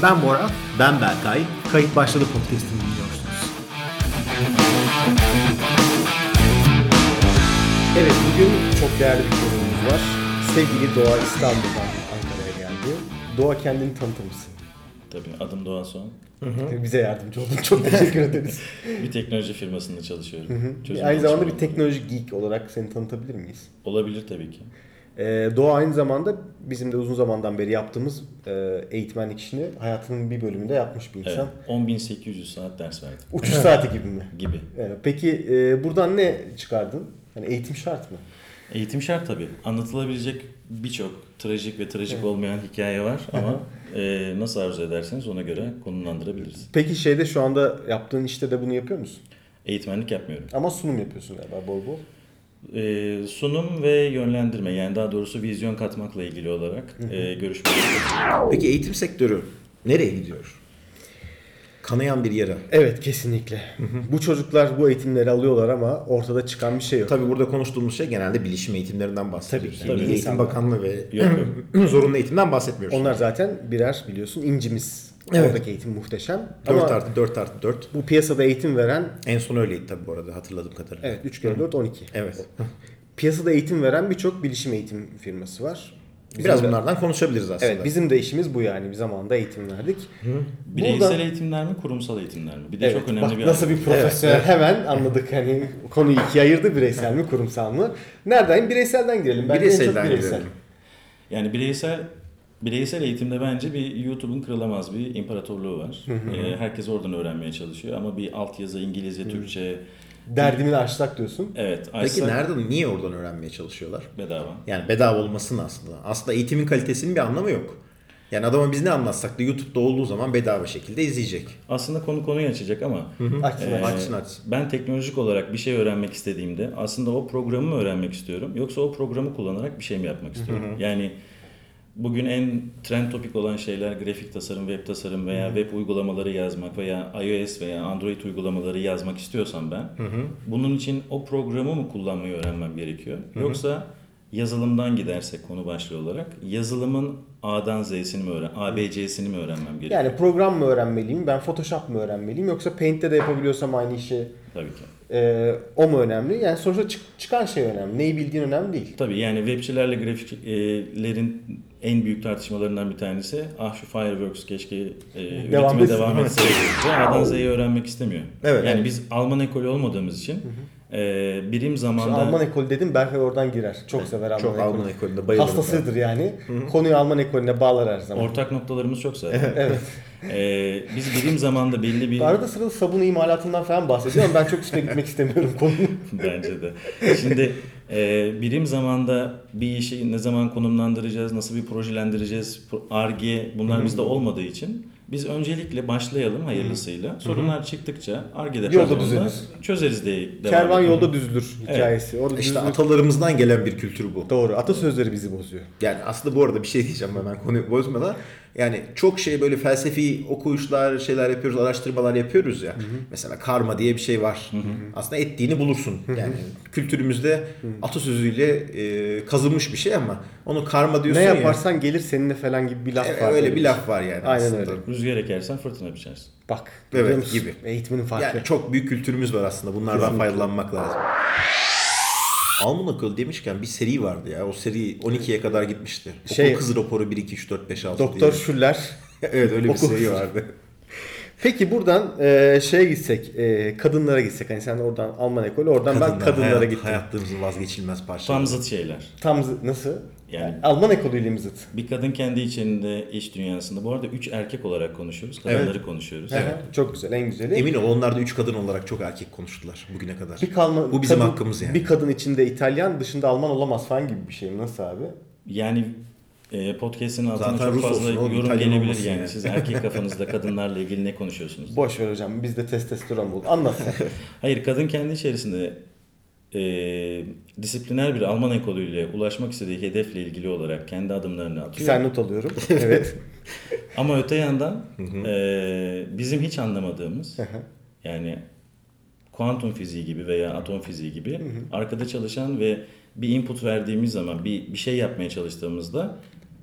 Ben Bora. Ben Berkay. Kayıt başladı podcast'ini dinliyorsunuz. Evet bugün çok değerli bir konuğumuz var. Sevgili Doğa İstanbul'dan Ankara'ya geldi. Doğa kendini tanıtır mısın? Tabii adım Doğan Soğan. Bize yardımcı oldun. Çok teşekkür ederiz. Bir teknoloji firmasında çalışıyorum. Çözüm aynı zamanda bir geliştirme teknoloji geek olarak seni tanıtabilir miyiz? Olabilir tabii ki. Ee, Doğa aynı zamanda bizim de uzun zamandan beri yaptığımız e, eğitmenlik işini hayatının bir bölümünde yapmış bir Evet. insan. 10.800 saat ders verdim Uçuş saati gibi mi? gibi. Evet, peki e, buradan ne çıkardın? Hani eğitim şart mı? Eğitim şart tabii. Anlatılabilecek birçok trajik ve trajik olmayan hikaye var ama e, nasıl arzu ederseniz ona göre konumlandırabiliriz. Peki şeyde şu anda yaptığın işte de bunu yapıyor musun? Eğitmenlik yapmıyorum. Ama sunum yapıyorsun galiba bol bol. E, sunum ve yönlendirme yani daha doğrusu vizyon katmakla ilgili olarak e, görüşmeler Peki eğitim sektörü nereye gidiyor? Kanayan bir yara. Evet kesinlikle. Bu çocuklar bu eğitimleri alıyorlar ama ortada çıkan bir şey yok. Tabii burada konuştuğumuz şey genelde bilişim eğitimlerinden bahsediyoruz. Tabii ki. Yani Tabii. Milli Eğitim İnsanlar. Bakanlığı ve Yok yok. zorunlu eğitimden bahsetmiyoruz. Onlar zaten birer biliyorsun incimiz. Evet. Oradaki eğitim muhteşem. 4 ama artı 4 artı 4. bu piyasada eğitim veren En son öyleydi tabii bu arada hatırladığım kadarıyla. evet 3 kere 4 12. Evet. Piyasada eğitim veren birçok bilişim eğitim firması var. Bizim Biraz de- bunlardan konuşabiliriz aslında. Evet bizim de işimiz bu yani. Bir zamanında eğitim verdik. Bireysel Buradan- eğitimler mi kurumsal eğitimler mi? Bir de Evet, çok önemli bak, bir nasıl bir profesyonel hemen anladık hani konuyu ikiye ayırdı bireysel mi kurumsal mı? Nereden? Bireyselden girelim. Bence en çok Bireyselden girelim. Yani bireysel bireysel eğitimde bence bir YouTube'un kırılamaz bir imparatorluğu var. Ee, herkes oradan öğrenmeye çalışıyor ama bir altyazı İngilizce, Türkçe, Derdimini açsak diyorsun. evet, Peki açsak nereden, niye oradan öğrenmeye çalışıyorlar? bedava. Yani bedava olmasın aslında. Aslında eğitimin kalitesinin bir anlamı yok. Yani adama biz ne anlatsak da YouTube'da olduğu zaman bedava şekilde izleyecek. Aslında konu konuyu açacak ama Açsın. e, Açsın açsın. ben teknolojik olarak bir şey öğrenmek istediğimde aslında o programı mı öğrenmek istiyorum yoksa o programı kullanarak bir şey mi yapmak istiyorum? Yani bugün en trend topik olan şeyler grafik tasarım, web tasarım veya web uygulamaları yazmak veya iOS veya Android uygulamaları yazmak istiyorsam ben bunun için o programı mı kullanmayı öğrenmem gerekiyor? Yoksa yazılımdan gidersek konu başlığı olarak yazılımın A'dan Z'sini mi öğren, ABC'sini mi öğrenmem gerekiyor? Yani program mı öğrenmeliyim, ben Photoshop mu öğrenmeliyim yoksa Paint'te de yapabiliyorsam aynı işi Tabii ki. e, o mu önemli? Yani sonuçta çık- çıkan şey önemli. Neyi bildiğin önemli değil. Tabii yani webçilerle grafiklerin en büyük tartışmalarından bir tanesi ah şu Fireworks keşke e, Devam üretime etsin." devam etseydi. Ve A'dan Z'yi öğrenmek istemiyor. Evet. yani biz Alman ekolü olmadığımız için e, birim Şu zamanda Alman ekolü dedim Berkay oradan girer. Çok sever Alman Çok ekolü. Alman ekolünde bayılırım. ben. Hastasıdır yani. Konuyu Alman ekolüne bağlar her zaman. ortak noktalarımız çok zaten. evet. biz birim zamanda belli bir Arada sırada sabun imalatından falan bahsediyor ama ben çok üstüne gitmek istemiyorum konunun. Bence de. Şimdi e, birim zamanda bir işi ne zaman konumlandıracağız, nasıl bir projelendireceğiz, pro- ARGE bunlar bizde olmadığı için biz öncelikle başlayalım hayırlısıyla. Sorunlar çıktıkça ARGE Yolda departmanında düzeliriz. çözeriz diye devam Kervan ediyoruz. yolda düzülür hikayesi. Orada İşte düzülür. atalarımızdan gelen bir kültür bu. Doğru. Atasözleri bizi bozuyor. Yani aslında bu arada bir şey diyeceğim hemen konuyu bozmadan. Yani çok şey böyle felsefi okuyuşlar, şeyler yapıyoruz, araştırmalar yapıyoruz ya. Mesela karma diye bir şey var. Aslında ettiğini bulursun. Yani kültürümüzde atasözüyle e, kazınmış bir şey ama onu karma diyorsun Ne ya. yaparsan gelir seninle falan gibi bir laf E, var. öyle böyle bir laf var yani Aynen aslında. öyle. Rüzgar ekersen fırtına biçersin. Bak. Evet, görüyor musun? gibi. Eğitimin farkı. Yani çok büyük kültürümüz var aslında. Bunlardan faydalanmak lazım. Alman akıllı demişken bir seri vardı ya. O seri 12'ye kadar gitmişti. Okul Şey- kızı raporu 1, 2, 3, 4, 5, 6 Doktor diye. Şüller evet öyle bir Okul seri kızı. vardı. Peki buradan e, şeye gitsek, e, kadınlara gitsek. Hani sen oradan Alman ekolü, oradan ben kadınlara hayat- gittim. Hayatımızın vazgeçilmez parçası. Tam zıt şeyler. Tam zı- nasıl? Yani- Alman ekolüyle mi zıt? Bir kadın kendi içinde iş dünyasında. Bu arada üç erkek olarak konuşuyoruz. Kadınları konuşuyoruz. Aha, Çok güzel, en güzeli. Emin ol onlar da üç kadın olarak çok erkek konuştular bugüne kadar. bir kalma, Bu bizim kadın- hakkımız yani. Bir kadın içinde İtalyan, dışında Alman olamaz falan gibi bir şey mi? Nasıl abi? Yani e, podcast'in altına Zaten çok Rus fazla olsun oğlum, yorum İtalyan gelebilir olmasın yani. yani. Siz erkek kafanızda kadınlarla ilgili ne konuşuyorsunuz? Boş ver hocam, bizde testosteron buldu. Anlat sen. Hayır kadın kendi içerisinde e, disipliner bir Alman ekolüyle ulaşmak istediği hedefle ilgili olarak kendi adımlarını atıyor. sen not alıyorum. Evet. Ama öte yandan e, bizim hiç anlamadığımız yani kuantum fiziği gibi veya atom fiziği gibi arkada çalışan ve bir input verdiğimiz zaman bir, bir şey yapmaya çalıştığımızda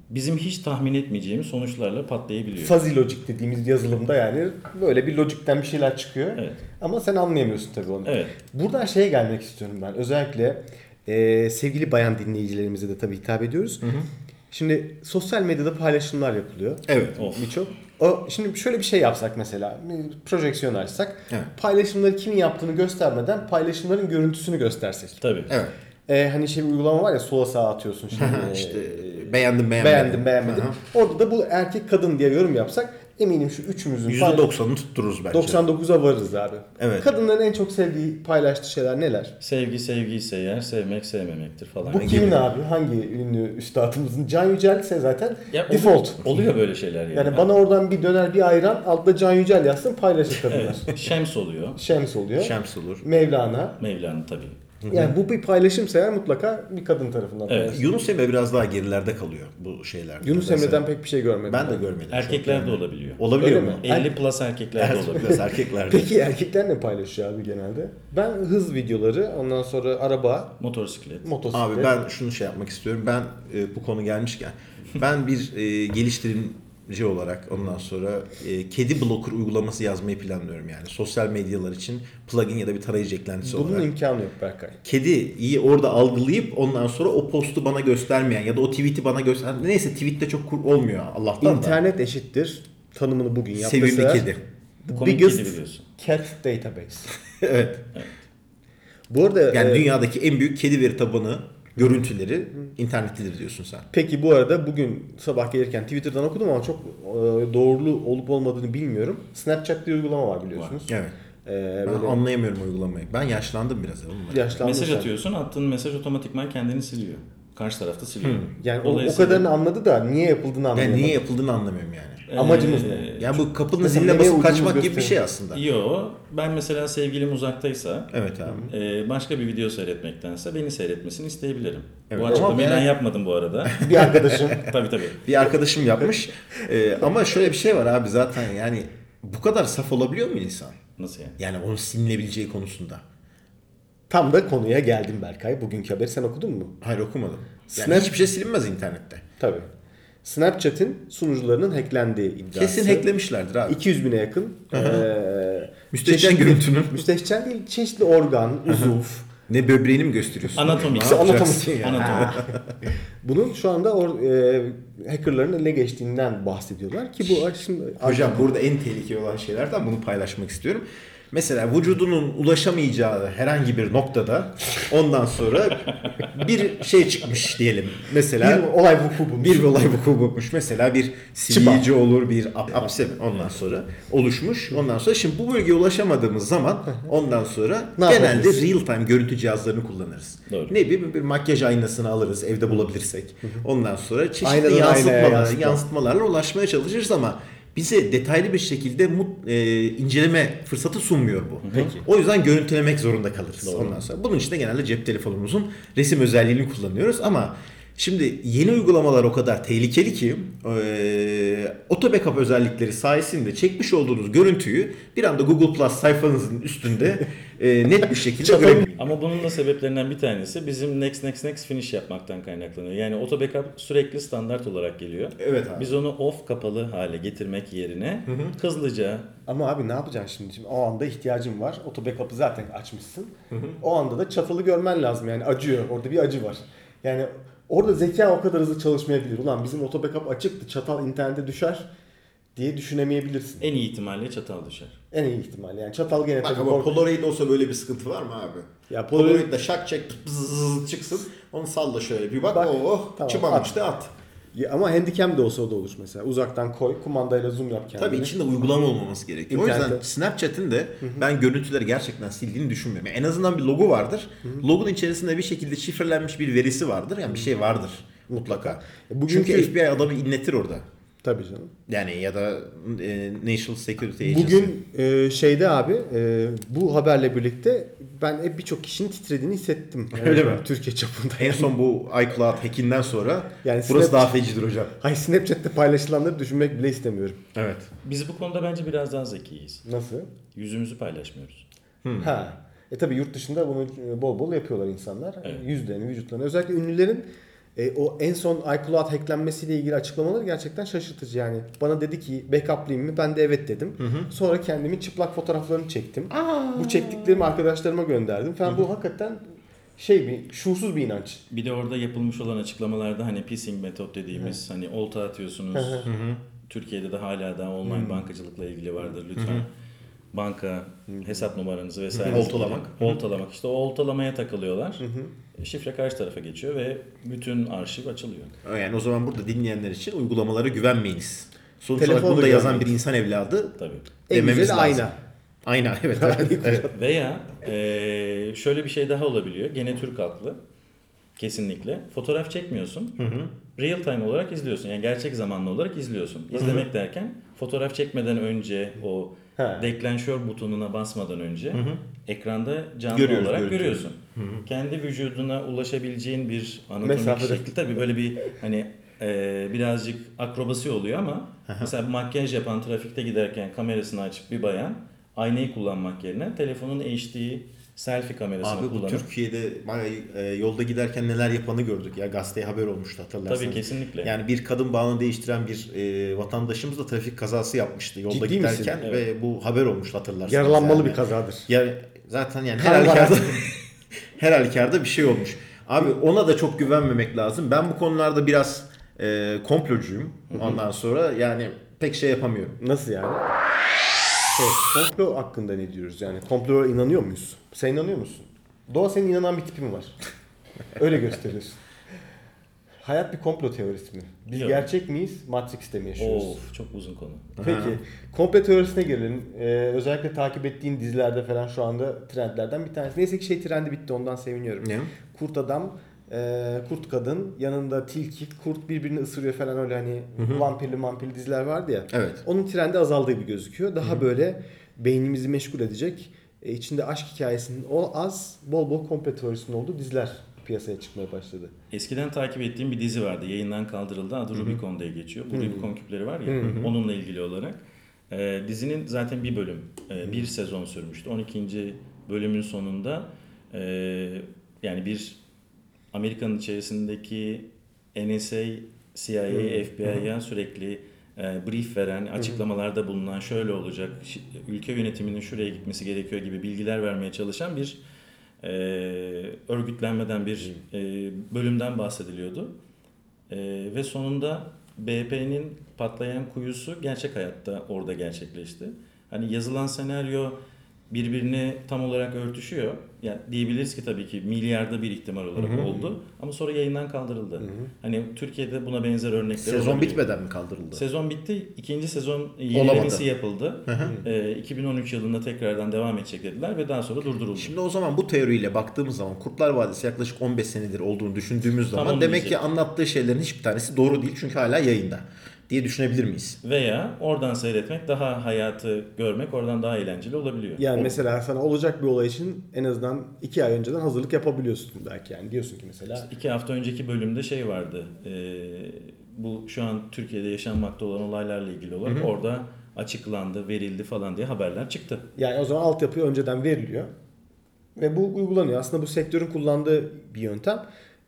bizim hiç tahmin etmeyeceğimiz sonuçlarla patlayabiliyor. Fuzzy logic dediğimiz yazılımda yani böyle bir logikten bir şeyler çıkıyor. Evet. Ama sen anlayamıyorsun tabii onu. Evet. Buradan şeye gelmek istiyorum ben. Özellikle e, sevgili bayan dinleyicilerimize de tabii hitap ediyoruz. Şimdi sosyal medyada paylaşımlar yapılıyor. Evet. Of. Birçok. O, şimdi şöyle bir şey yapsak mesela. Bir projeksiyon açsak. Evet. Paylaşımları kimin yaptığını göstermeden paylaşımların görüntüsünü göstersek. Tabii. Evet. E, hani şey bir uygulama var ya sola sağa atıyorsun şimdi. İşte beğendim beğenmedim. Ee, Beğendim beğenmedim. Hı hı. Orada da bu erkek kadın diye yorum yapsak eminim şu üçümüzün paylaş- %90'ını tuttururuz bence. 99'a varırız abi. Evet. Kadınların en çok sevdiği paylaştığı şeyler neler? Sevgi sevgi ise eğer sevmek sevmemektir falan. Bu Yani kimin gibi. abi? Hangi ünlü üstadımızın? Can Yücel ise zaten Ya oluyor- default. Oluyor böyle şeyler yani. Yani bana oradan bir döner bir ayran altta Can Yücel yazsın paylaşır kadınlar. Evet. Şems oluyor. Şems oluyor. Şems olur. Mevlana. Mevlana tabii. Yani bu bir paylaşımsa eğer mutlaka bir kadın tarafından Evet. paylaşılır. Yunus Emre biraz daha gerilerde kalıyor bu şeylerde. Yunus Ben Emre'den pek bir şey görmedim. Ben de görmedim. Erkekler de olabiliyor. Olabiliyor Öyle mu? mi? 50 plus erkekler de Evet, olabiliyor. Biraz erkeklerde. Peki erkekler ne paylaşıyor abi genelde? Ben hız videoları, ondan sonra araba, Motosiklet. motosiklet. Abi ben şunu şey yapmak istiyorum. Ben e, bu konu gelmişken ben bir e, geliştirimci olarak ondan sonra e, kedi blocker uygulaması yazmayı planlıyorum yani. Sosyal medyalar için plugin ya da bir tarayıcı eklentisi Bunun olarak. imkanı yok Berkay. Kedi iyi orada algılayıp ondan sonra o postu bana göstermeyen ya da o tweet'i bana göster hani neyse tweet'te çok kur olmuyor Allah'tan da. İnternet eşittir. Tanımını bugün yaptı. Sevimli Seher. kedi. The Komik biggest kedi biliyorsun. cat database. evet. Bu arada Yani e, dünyadaki en büyük kedi veri tabanı görüntüleri internettedir diyorsun sen. peki bu arada bugün sabah gelirken Twitter'dan okudum ama çok e, doğrulu olup olmadığını bilmiyorum. Snapchat diye uygulama var biliyorsunuz. Evet. E, Ben böyle anlayamıyorum uygulamayı. Ben yaşlandım biraz. ya oğlum. yaşlandı Mesaj sen. atıyorsun, attığın mesaj otomatikman kendini siliyor. Karşı tarafta siliyor. Hmm, Yani o, o Dolayısıyla- kadarını anladı da niye yapıldığını Yani anlayamadı. niye yapıldığını anlamıyorum yani. Ee, Amacımız ne? Yani bu kapının Mesela ziline nereye basıp uyduğunu kaçmak gibi bir gösterin. şey aslında. Ee, Yo, ben mesela sevgilim uzaktaysa Evet abi. e, başka bir video seyretmektense beni seyretmesini isteyebilirim. Evet, Bu ama açıklamayı ben- ben yapmadım bu arada. Bir arkadaşım tabii tabii. Bir arkadaşım yapmış. Ee, ama şöyle bir şey var abi zaten yani bu kadar saf olabiliyor mu insan? Nasıl yani? Yani onun silinebileceği konusunda. tam da konuya geldim Berkay. Bugünkü haberi sen okudun mu? Hayır okumadım. Yani Snap- hiçbir şey silinmez internette. Tabii. Snapchat'in sunucularının hacklendiği iddiası. Kesin hacklemişlerdir abi. 200 bine yakın. eee, Müstehcen çeşitli- görüntünün. Müstehcen değil. Çeşitli organ, uzuv. Ne böbreğini mi gösteriyorsun? Anatomi. Ne yapacaksın Anatomi. yani? Anatomi. Bunun şu anda or, eee, hackerların eline geçtiğinden bahsediyorlar ki Şey- bu şimdi Hocam burada en tehlikeli olan şeylerden bunu paylaşmak istiyorum. Mesela vücudunun ulaşamayacağı herhangi bir noktada ondan sonra bir şey çıkmış diyelim. Mesela bir olay vuku bulmuş. bir olay vuku bulmuş. Mesela bir siliyici olur, bir ap- apse ondan sonra oluşmuş. Ondan sonra şimdi bu bölgeye ulaşamadığımız zaman ondan sonra Ne genelde yapabiliriz? real time görüntü cihazlarını kullanırız. Doğru. Ne bileyim bir makyaj aynasını alırız evde bulabilirsek. Ondan sonra çeşitli Aynadan aynaya yansıtmalar, yansıtma. yansıtmalarla ulaşmaya çalışırız ama bize detaylı bir şekilde mut, e, inceleme fırsatı sunmuyor bu. Peki. O yüzden görüntülemek zorunda kalırız ondan sonra. Bunun için de genelde cep telefonumuzun resim özelliğini kullanıyoruz ama şimdi yeni uygulamalar o kadar tehlikeli ki e, auto backup özellikleri sayesinde çekmiş olduğunuz görüntüyü bir anda Google Plus sayfanızın üstünde e, net bir şekilde görebilirsiniz. Ama bunun da sebeplerinden bir tanesi bizim next next next finish yapmaktan kaynaklanıyor. Yani auto backup sürekli standart olarak geliyor. Evet abi. Biz onu off kapalı hale getirmek yerine hızlıca Ama abi ne yapacaksın şimdi? Şimdi o anda ihtiyacın var. Oto backup'ı zaten açmışsın. O anda da çatalı görmen lazım. Yani acıyor. Orada bir acı var. Yani orada zeka o kadar hızlı çalışmayabilir. Ulan bizim oto backup açıktı. Çatal internete düşer diye düşünemeyebilirsin. en iyi ihtimalle çatal düşer. En iyi ihtimal. Yani çatal gene Bak tabii ama kork- Polaroid olsa böyle bir sıkıntı var mı abi? Ya Polaroid- Polaroid'de şak çek bzzz çıksın. Onu salla şöyle bir bak. Bak, oh tamam, çıkmamış da at. Ya ama handicam de olsa o da olur mesela. Uzaktan koy, kumandayla zoom yap kendini. Tabii içinde uygulama olmaması gerekiyor. O yüzden İnternette. Snapchat'in de ben görüntüleri gerçekten sildiğini düşünmüyorum. Yani en azından bir logo vardır. Logon içerisinde bir şekilde şifrelenmiş bir verisi vardır. Yani bir şey vardır mutlaka. E, bugünkü- Çünkü FBI adamı inletir orada. Tabii canım. Yani ya da e, National Security Agency. Bugün e, şeyde abi e, bu haberle birlikte ben hep birçok kişinin titrediğini hissettim. Öyle mi? Türkiye çapında. en son bu iCloud hackinden sonra Yani burası Snap- daha fecidir hocam. Hayır Snapchat'te paylaşılanları düşünmek bile istemiyorum. Evet. Biz bu konuda bence biraz daha zekiyiz. Nasıl? Yüzümüzü paylaşmıyoruz. Ha. E tabii yurt dışında bunu e, bol bol yapıyorlar insanlar. Evet. Yüzlerini, vücutlarını. Özellikle ünlülerin e, E, o en son iCloud hacklenmesiyle ilgili açıklamaları gerçekten şaşırtıcı yani. Bana dedi ki backuplayayım mı? Ben de evet dedim. Sonra kendimin çıplak fotoğraflarını çektim. Bu çektiklerimi arkadaşlarıma gönderdim falan. Bu hakikaten şey bir şuursuz bir inanç. Bir de orada yapılmış olan açıklamalarda hani pissing metot dediğimiz hani olta atıyorsunuz. Türkiye'de de hala daha online bankacılıkla ilgili vardır lütfen. Banka hesap numaranızı vesaire. Oltalamak. Oltalamak. İşte o oltalamaya takılıyorlar. Şifre karşı tarafa geçiyor ve bütün arşiv açılıyor. Yani o zaman burada dinleyenler için uygulamalara güvenmeyiniz. Sonuç olarak Telefona bunu da yazan bir güvenmeyin. insan evladı Tabii. En dememiz güzeli lazım. ayna. Ayna evet. evet, evet. Veya eee, şöyle bir şey daha olabiliyor. Gene Türk haklı. Kesinlikle. Fotoğraf çekmiyorsun. Real time olarak izliyorsun. Yani gerçek zamanlı olarak izliyorsun. İzlemek derken fotoğraf çekmeden önce o He. deklanşör butonuna basmadan önce ekranda canlı Görüyoruz, olarak görüntüyü. görüyorsun. Kendi vücuduna ulaşabileceğin bir anatomik Mesafede. şekli tabii böyle bir hani eee, birazcık akrobasi oluyor ama mesela makyaj yapan trafikte giderken kamerasını açıp bir bayan aynayı kullanmak yerine telefonun HD selfie kamerasını Abi bu kullanıp Türkiye'de bayağı, e, yolda giderken neler yapanı gördük ya gazeteye haber olmuştu hatırlarsanız. tabii kesinlikle. Yani bir kadın bağını değiştiren bir e, vatandaşımız da trafik kazası yapmıştı yolda Ciddi misin? giderken ve bu haber olmuştu hatırlarsınız. Yaralanmalı yani. bir kazadır. Ya zaten yani her Kan var halükarda artık. her halükarda bir şey olmuş. Abi ona da çok güvenmemek lazım. Ben bu konularda biraz e, komplocuyum. Ondan sonra yani pek şey yapamıyorum. Nasıl yani? Evet, komplo hakkında ne diyoruz yani? Komploya inanıyor muyuz? Sen inanıyor musun? Doğa senin inanan bir tipin var. Öyle gösteriyorsun. Hayat bir komplo teorisi mi? Biz Yok. gerçek miyiz? Matrix'te mi yaşıyoruz? Of çok uzun konu. Peki komplo teorisine gelelim. Ee, özellikle takip ettiğin dizilerde falan şu anda trendlerden bir tanesi. Neyse ki şey trendi bitti ondan seviniyorum. Ne? Kurt adam, e, kurt kadın, yanında tilki, kurt birbirini ısırıyor falan öyle hani vampirli vampirli diziler vardı ya. Evet. Onun trendi azaldığı gibi gözüküyor. Daha böyle beynimizi meşgul edecek, e, içinde aşk hikayesinin o az, bol bol komplo teorisinin olduğu diziler piyasaya çıkmaya başladı. Eskiden takip ettiğim bir dizi vardı. Yayından kaldırıldı. Adı Rubicon diye geçiyor. Bu Rubicon küpleri var ya. Onunla ilgili olarak. Ee, dizinin zaten bir bölüm, e, bir sezon sürmüştü. 12. bölümün sonunda e, yani bir Amerika'nın içerisindeki NSA, CIA, FBI'ya sürekli e, brief veren, açıklamalarda bulunan şöyle olacak, şi- ülke yönetiminin şuraya gitmesi gerekiyor gibi bilgiler vermeye çalışan bir e, örgütlenmeden bir e, bölümden bahsediliyordu. E, ve sonunda BP'nin patlayan kuyusu gerçek hayatta orada gerçekleşti. Hani yazılan senaryo birbirine tam olarak örtüşüyor. Yani diyebiliriz ki tabii ki milyarda bir ihtimal olarak oldu. Ama sonra yayından kaldırıldı. Hani Türkiye'de buna benzer örnekler Sezon olabiliyor. bitmeden mi kaldırıldı? Sezon bitti. İkinci sezon Olamadı. yenilemesi yapıldı. Ee, 2013 yılında tekrardan devam edecek dediler ve daha sonra durduruldu. Şimdi o zaman bu teoriyle baktığımız zaman Kurtlar Vadisi yaklaşık 15 senedir olduğunu düşündüğümüz Tam zaman onu demek ki diyecektim. anlattığı şeylerin hiçbir tanesi doğru değil çünkü hala yayında diye düşünebilir miyiz? Veya oradan seyretmek daha hayatı görmek oradan daha eğlenceli olabiliyor. Yani mesela sana olacak bir olay için en azından iki ay önceden hazırlık yapabiliyorsun belki yani. Diyorsun ki mesela İki hafta önceki bölümde şey vardı. Ee, bu şu an Türkiye'de yaşanmakta olan olaylarla ilgili olarak orada açıklandı, verildi falan diye haberler çıktı. Yani o zaman altyapı önceden veriliyor. Ve bu uygulanıyor. Aslında bu sektörün kullandığı bir yöntem.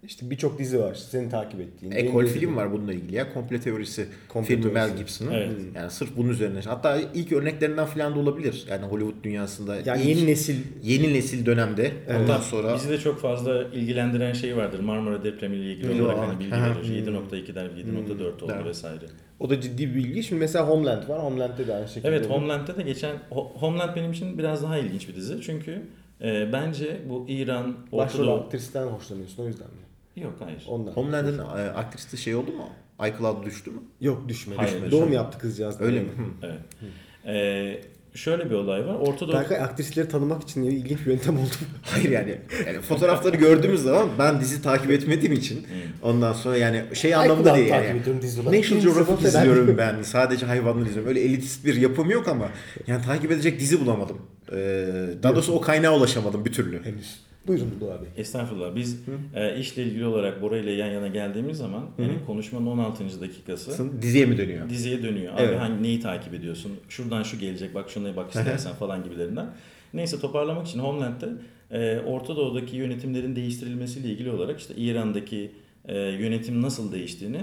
İşte birçok dizi var. işte Seni takip ettiğin. Ekol benim dediğim. film E, var bununla ilgili ya. Komple teorisi Komple filmi Mel teorisi. Gibson'ın. Evet. Yani sırf bunun üzerine. Hatta ilk örneklerinden falan da olabilir. Yani Hollywood dünyasında Yani ilk- yeni nesil yeni nesil dönemde. Ondan sonra Bizi de çok fazla ilgilendiren şey vardır. Marmara depremi ile ilgili Bilgi olarak olarak. hani bilgi Aha. verir. 7.2'den 7.4 oldu Evet. vesaire. o da ciddi bir bilgi. Şimdi mesela Homeland var. Homeland'de de aynı şekilde. Evet oluyor. Homeland'de de geçen Ho- Homeland benim için biraz daha ilginç bir dizi. Çünkü e, bence bu İran, Orta Başrol Doğu... aktristen hoşlanıyorsun o yüzden mi? Yok hayır. Ondan. Homeland'in e, aktrisi şey oldu mu? iCloud düştü mü? Yok düşmedi. Hayır, Düşmedi. düşmedi. Doğum yaptı kızcağız. Öyle mi? Yani. Evet. E, şöyle bir olay var. Orta Doğu... Belki aktrisleri tanımak için ilginç bir yöntem oldu. Hayır yani, yani fotoğrafları gördüğümüz zaman ben dizi takip etmediğim için ondan sonra yani şey anlamında iCloud'dan değil takip yani. ediyorum dizi olarak. National Kimse Geographic bahseder. izliyorum ben. Sadece hayvanları izliyorum. Öyle elitist bir yapım yok ama yani takip edecek dizi bulamadım. Ee, daha doğrusu o kaynağa ulaşamadım bir türlü. Henüz. Buyurun Doğa Bey. Estağfurullah. Biz e, işle ilgili olarak Bora ile yan yana geldiğimiz zaman yani konuşmanın 16. dakikası Diziye mi dönüyor? diziye dönüyor. Abi Evet. hangi neyi takip ediyorsun? Şuradan şu gelecek bak şuna bak istersen falan gibilerinden. Neyse toparlamak için Homeland'de e, Orta Doğu'daki yönetimlerin değiştirilmesiyle ilgili olarak işte İran'daki e, yönetim nasıl değiştiğini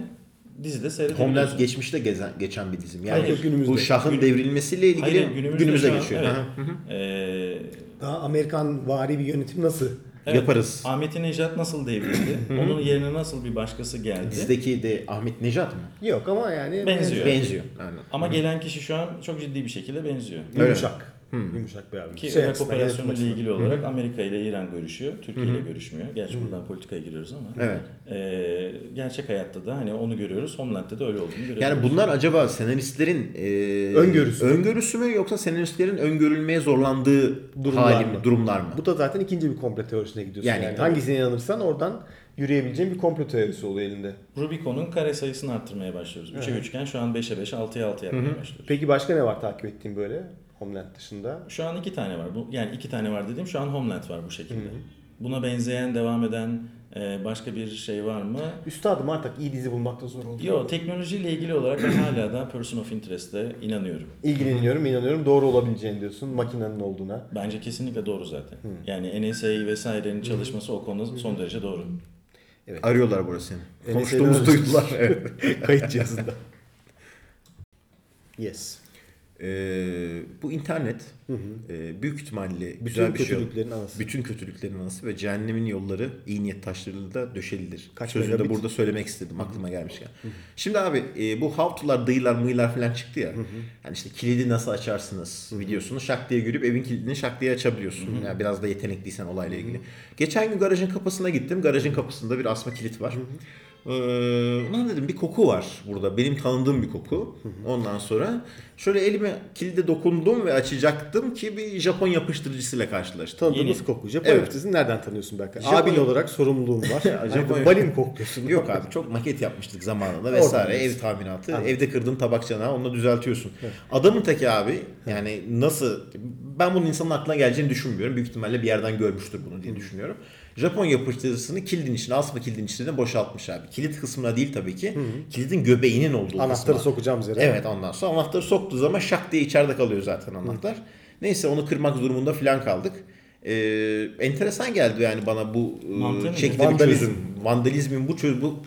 dizide Homeland seyredebiliyorsun. geçmişte gezen, geçen bir dizim. Yani Hayır, günümüzde. bu şahın Günü- devrilmesiyle ilgili Hayır, günümüzde günümüze, şu an, geçiyor. evet. Aha. Ee, Daha Amerikan vari bir yönetim nasıl? evet, Yaparız. Ahmet'i Nejat nasıl devrildi? Onun yerine nasıl bir başkası geldi? Dizdeki de Ahmet Nejat mı? Yok ama yani Benziyor. Benziyor. Aynen. Ama gelen kişi şu an çok ciddi bir şekilde benziyor. Yumuşak. Hmm. Yumuşak bir adam. Ki Şey Irak açısından, operasyonu ile yönetim ilgili olarak Amerika ile İran görüşüyor, Türkiye ile görüşmüyor. Gerçi buradan politikaya giriyoruz ama. Evet. Ee, gerçek hayatta da hani onu görüyoruz. Homeland'de de öyle olduğunu görüyoruz. Yani bunlar acaba senaristlerin e, Öngörüsü. öngörüsü mü yoksa senaristlerin öngörülmeye zorlandığı Durumlar durumlar hali mi, mı? durumlar mı? Bu da zaten ikinci bir komplo teorisine gidiyorsun. Yani, Yani- hangisine inanırsan oradan yürüyebileceğin bir komplo teorisi oluyor elinde. Rubicon'un kare sayısını arttırmaya başlıyoruz. 3'e 3'ken şu an 5'e 5, 6'ya 6 yapmaya başlıyoruz. Peki başka ne var takip ettiğin böyle Homeland dışında? Şu an iki tane var. Bu, yani iki tane var dediğim şu an Homeland var bu şekilde. Buna benzeyen, devam eden e, başka bir şey var mı? Üstadım artık iyi dizi bulmakta zor oldu. Yo, teknolojiyle ilgili olarak ben hala da Person of Interest'e inanıyorum. İlgileniyorum, inanıyorum. Doğru olabileceğini diyorsun. Makinenin olduğuna. Bence kesinlikle doğru zaten. Yani NSA vesairenin çalışması o konuda son derece doğru. Arıyorlar burasını. Evet, Konuştuğumuzu evet. duydular. Evet. Kayıt cihazında. Yes. Ee, bu internet e, büyük ihtimalle Bütün güzel bir şey. kötülüklerin anası. Bütün kötülüklerin anası ve cehennemin yolları iyi niyet taşlarıyla da döşelidir. Kaç Sözünü megabit? de burada söylemek istedim aklıma gelmişken. Şimdi abi e, bu how to'lar, dayılar, mıyılar falan çıktı ya. Yani işte kilidi nasıl açarsınız videosunu şak diye görüp evin kilidini şak diye açabiliyorsun. Yani biraz da yetenekliysen olayla ilgili. Geçen gün garajın kapısına gittim. Garajın kapısında bir asma kilit var. Ee, ulan dedim bir koku var burada. Benim tanıdığım bir koku. Ondan sonra şöyle elime kilide dokundum ve açacaktım ki bir Japon yapıştırıcısıyla karşılaştım. Tanıdığımız Yeni. koku. Japon Evet. yapıcısını nereden tanıyorsun Berkay? Japon- Abin olarak sorumluluğum var. Japon Japon- balin kokluyorsun. Yok abi çok maket yapmıştık zamanında Oradan vesaire ev diyorsun. tahminatı. Anladım. Evde kırdığın tabak çanağı onunla düzeltiyorsun. Adamın teki abi yani nasıl ben bunun insanın aklına geleceğini düşünmüyorum. Büyük ihtimalle bir yerden görmüştür bunu diye düşünüyorum. Japon yapıştırısını kilidin içine asma kilidin içine boşaltmış abi. Kilit kısmına değil tabii ki. Kilidin göbeğinin olduğu Anahtarı kısma. sokacağımız yere. Evet ondan sonra anahtarı soktuğu zaman şak diye içeride kalıyor zaten anahtar. Neyse onu kırmak durumunda filan kaldık. Ee, enteresan geldi yani bana bu e, Mantığı mı? şekilde Vandalizm. bir çözüm. Vandalizmin bu çözüm bu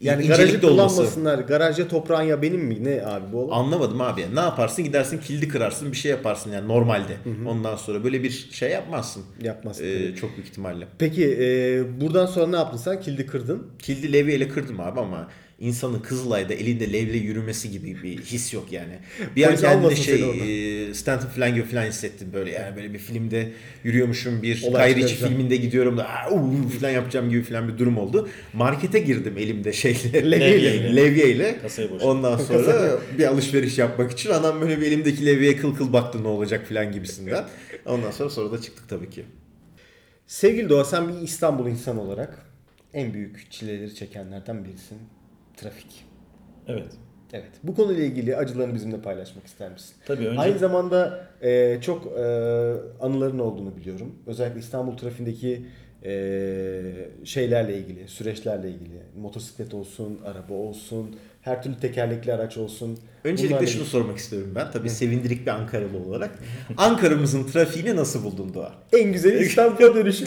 Yani incelikte garajı olması. kullanmasınlar. Garajda toprağın ya benim mi? Ne abi bu olay? Anlamadım abi. ya. Ne yaparsın? Gidersin kilidi kırarsın, bir şey yaparsın yani normalde. Ondan sonra böyle bir şey yapmazsın. Yapmazsın Ee, tabii. çok büyük ihtimalle. Peki e, buradan sonra ne yaptın sen? Kilidi kırdın. Kildi levyeyle kırdım abi ama insanın Kızılay'da elinde levye yürümesi gibi bir his yok yani. Bir an Polis kendini almasın seni şey e, Stanton falan gibi falan hissettim böyle yani böyle bir filmde yürüyormuşum bir Olay Guy Ritchie çıkaracağım. filminde gidiyorum da "Aa, uu" falan yapacağım gibi falan bir durum oldu. Markete girdim elimde şeyle levyeyle. Levyeyle. levyeyle. Kasayı boşalt. Ondan sonra bir alışveriş yapmak için adam böyle bir elimdeki levyeye kıl kıl baktı ne olacak falan gibisinden. Ondan sonra sonra da çıktık tabii ki. Sevgili Doğa sen bir İstanbul insanı olarak en büyük çileleri çekenlerden birisin. Trafik. Evet. Evet. Bu konuyla ilgili acılarını bizimle paylaşmak ister misin? Tabii önce Aynı zamanda e, çok e, anıların olduğunu biliyorum. Özellikle İstanbul trafiğindeki e, şeylerle ilgili, süreçlerle ilgili. Motosiklet olsun, araba olsun, her türlü tekerlekli araç olsun. Öncelikle Bunlarla şunu sormak istiyorum ben. Tabii sevindirik bir Ankaralı olarak. Ankara'mızın trafiğini nasıl buldun Doğa? En güzeli İstanbul'a dönüşü.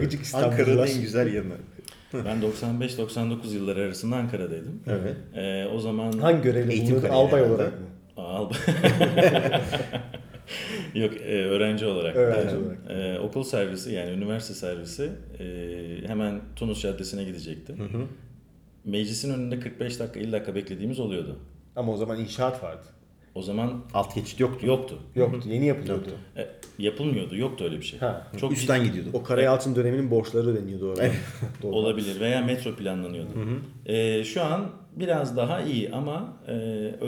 Gıcık İstanbullular. Ankara'nın en güzel yanı. ben 95-99 yılları arasında Ankara'daydım. Evet. Ee, o zaman Hangi görevle Eğitim bulunuyordu? Albay kariyeri herhalde. olarak mı? Al- Yok e, öğrenci olarak. Öğrenci Yani, olarak. e, okul servisi yani üniversite servisi e, hemen Tunus Caddesi'ne gidecekti. Meclisin önünde 45 dakika 50 dakika beklediğimiz oluyordu. Ama o zaman inşaat vardı. O zaman Alt geçit yoktu. yoktu. Yoktu, yeni yapılıyordu. E, yapılmüyordu. Yoktu öyle bir şey. Ha. Çok ciddi Üstten gidiyorduk. O Karayalçın döneminin borçları ödeniyordu orada. Doğru. olabilir veya metro planlanıyordu. E, şu an biraz daha iyi ama e,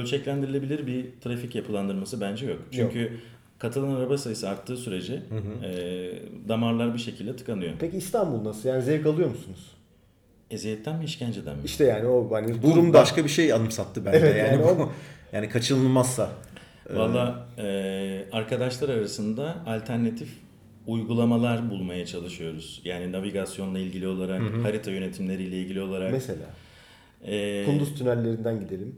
ölçeklendirilebilir bir trafik yapılandırması bence yok. Çünkü katılan araba sayısı arttığı sürece e, damarlar bir şekilde tıkanıyor. Peki İstanbul nasıl? Yani zevk alıyor musunuz? Eziyetten mi işkenceden mi? İşte yani o hani Bu durumda başka bir şey anımsattı bence. Evet, yani, yani bu- o- yani kaçınılmazsa. Valla e, arkadaşlar arasında alternatif uygulamalar bulmaya çalışıyoruz. Yani navigasyonla ilgili olarak, harita yönetimleriyle ilgili olarak. mesela e, Kunduz tünellerinden gidelim.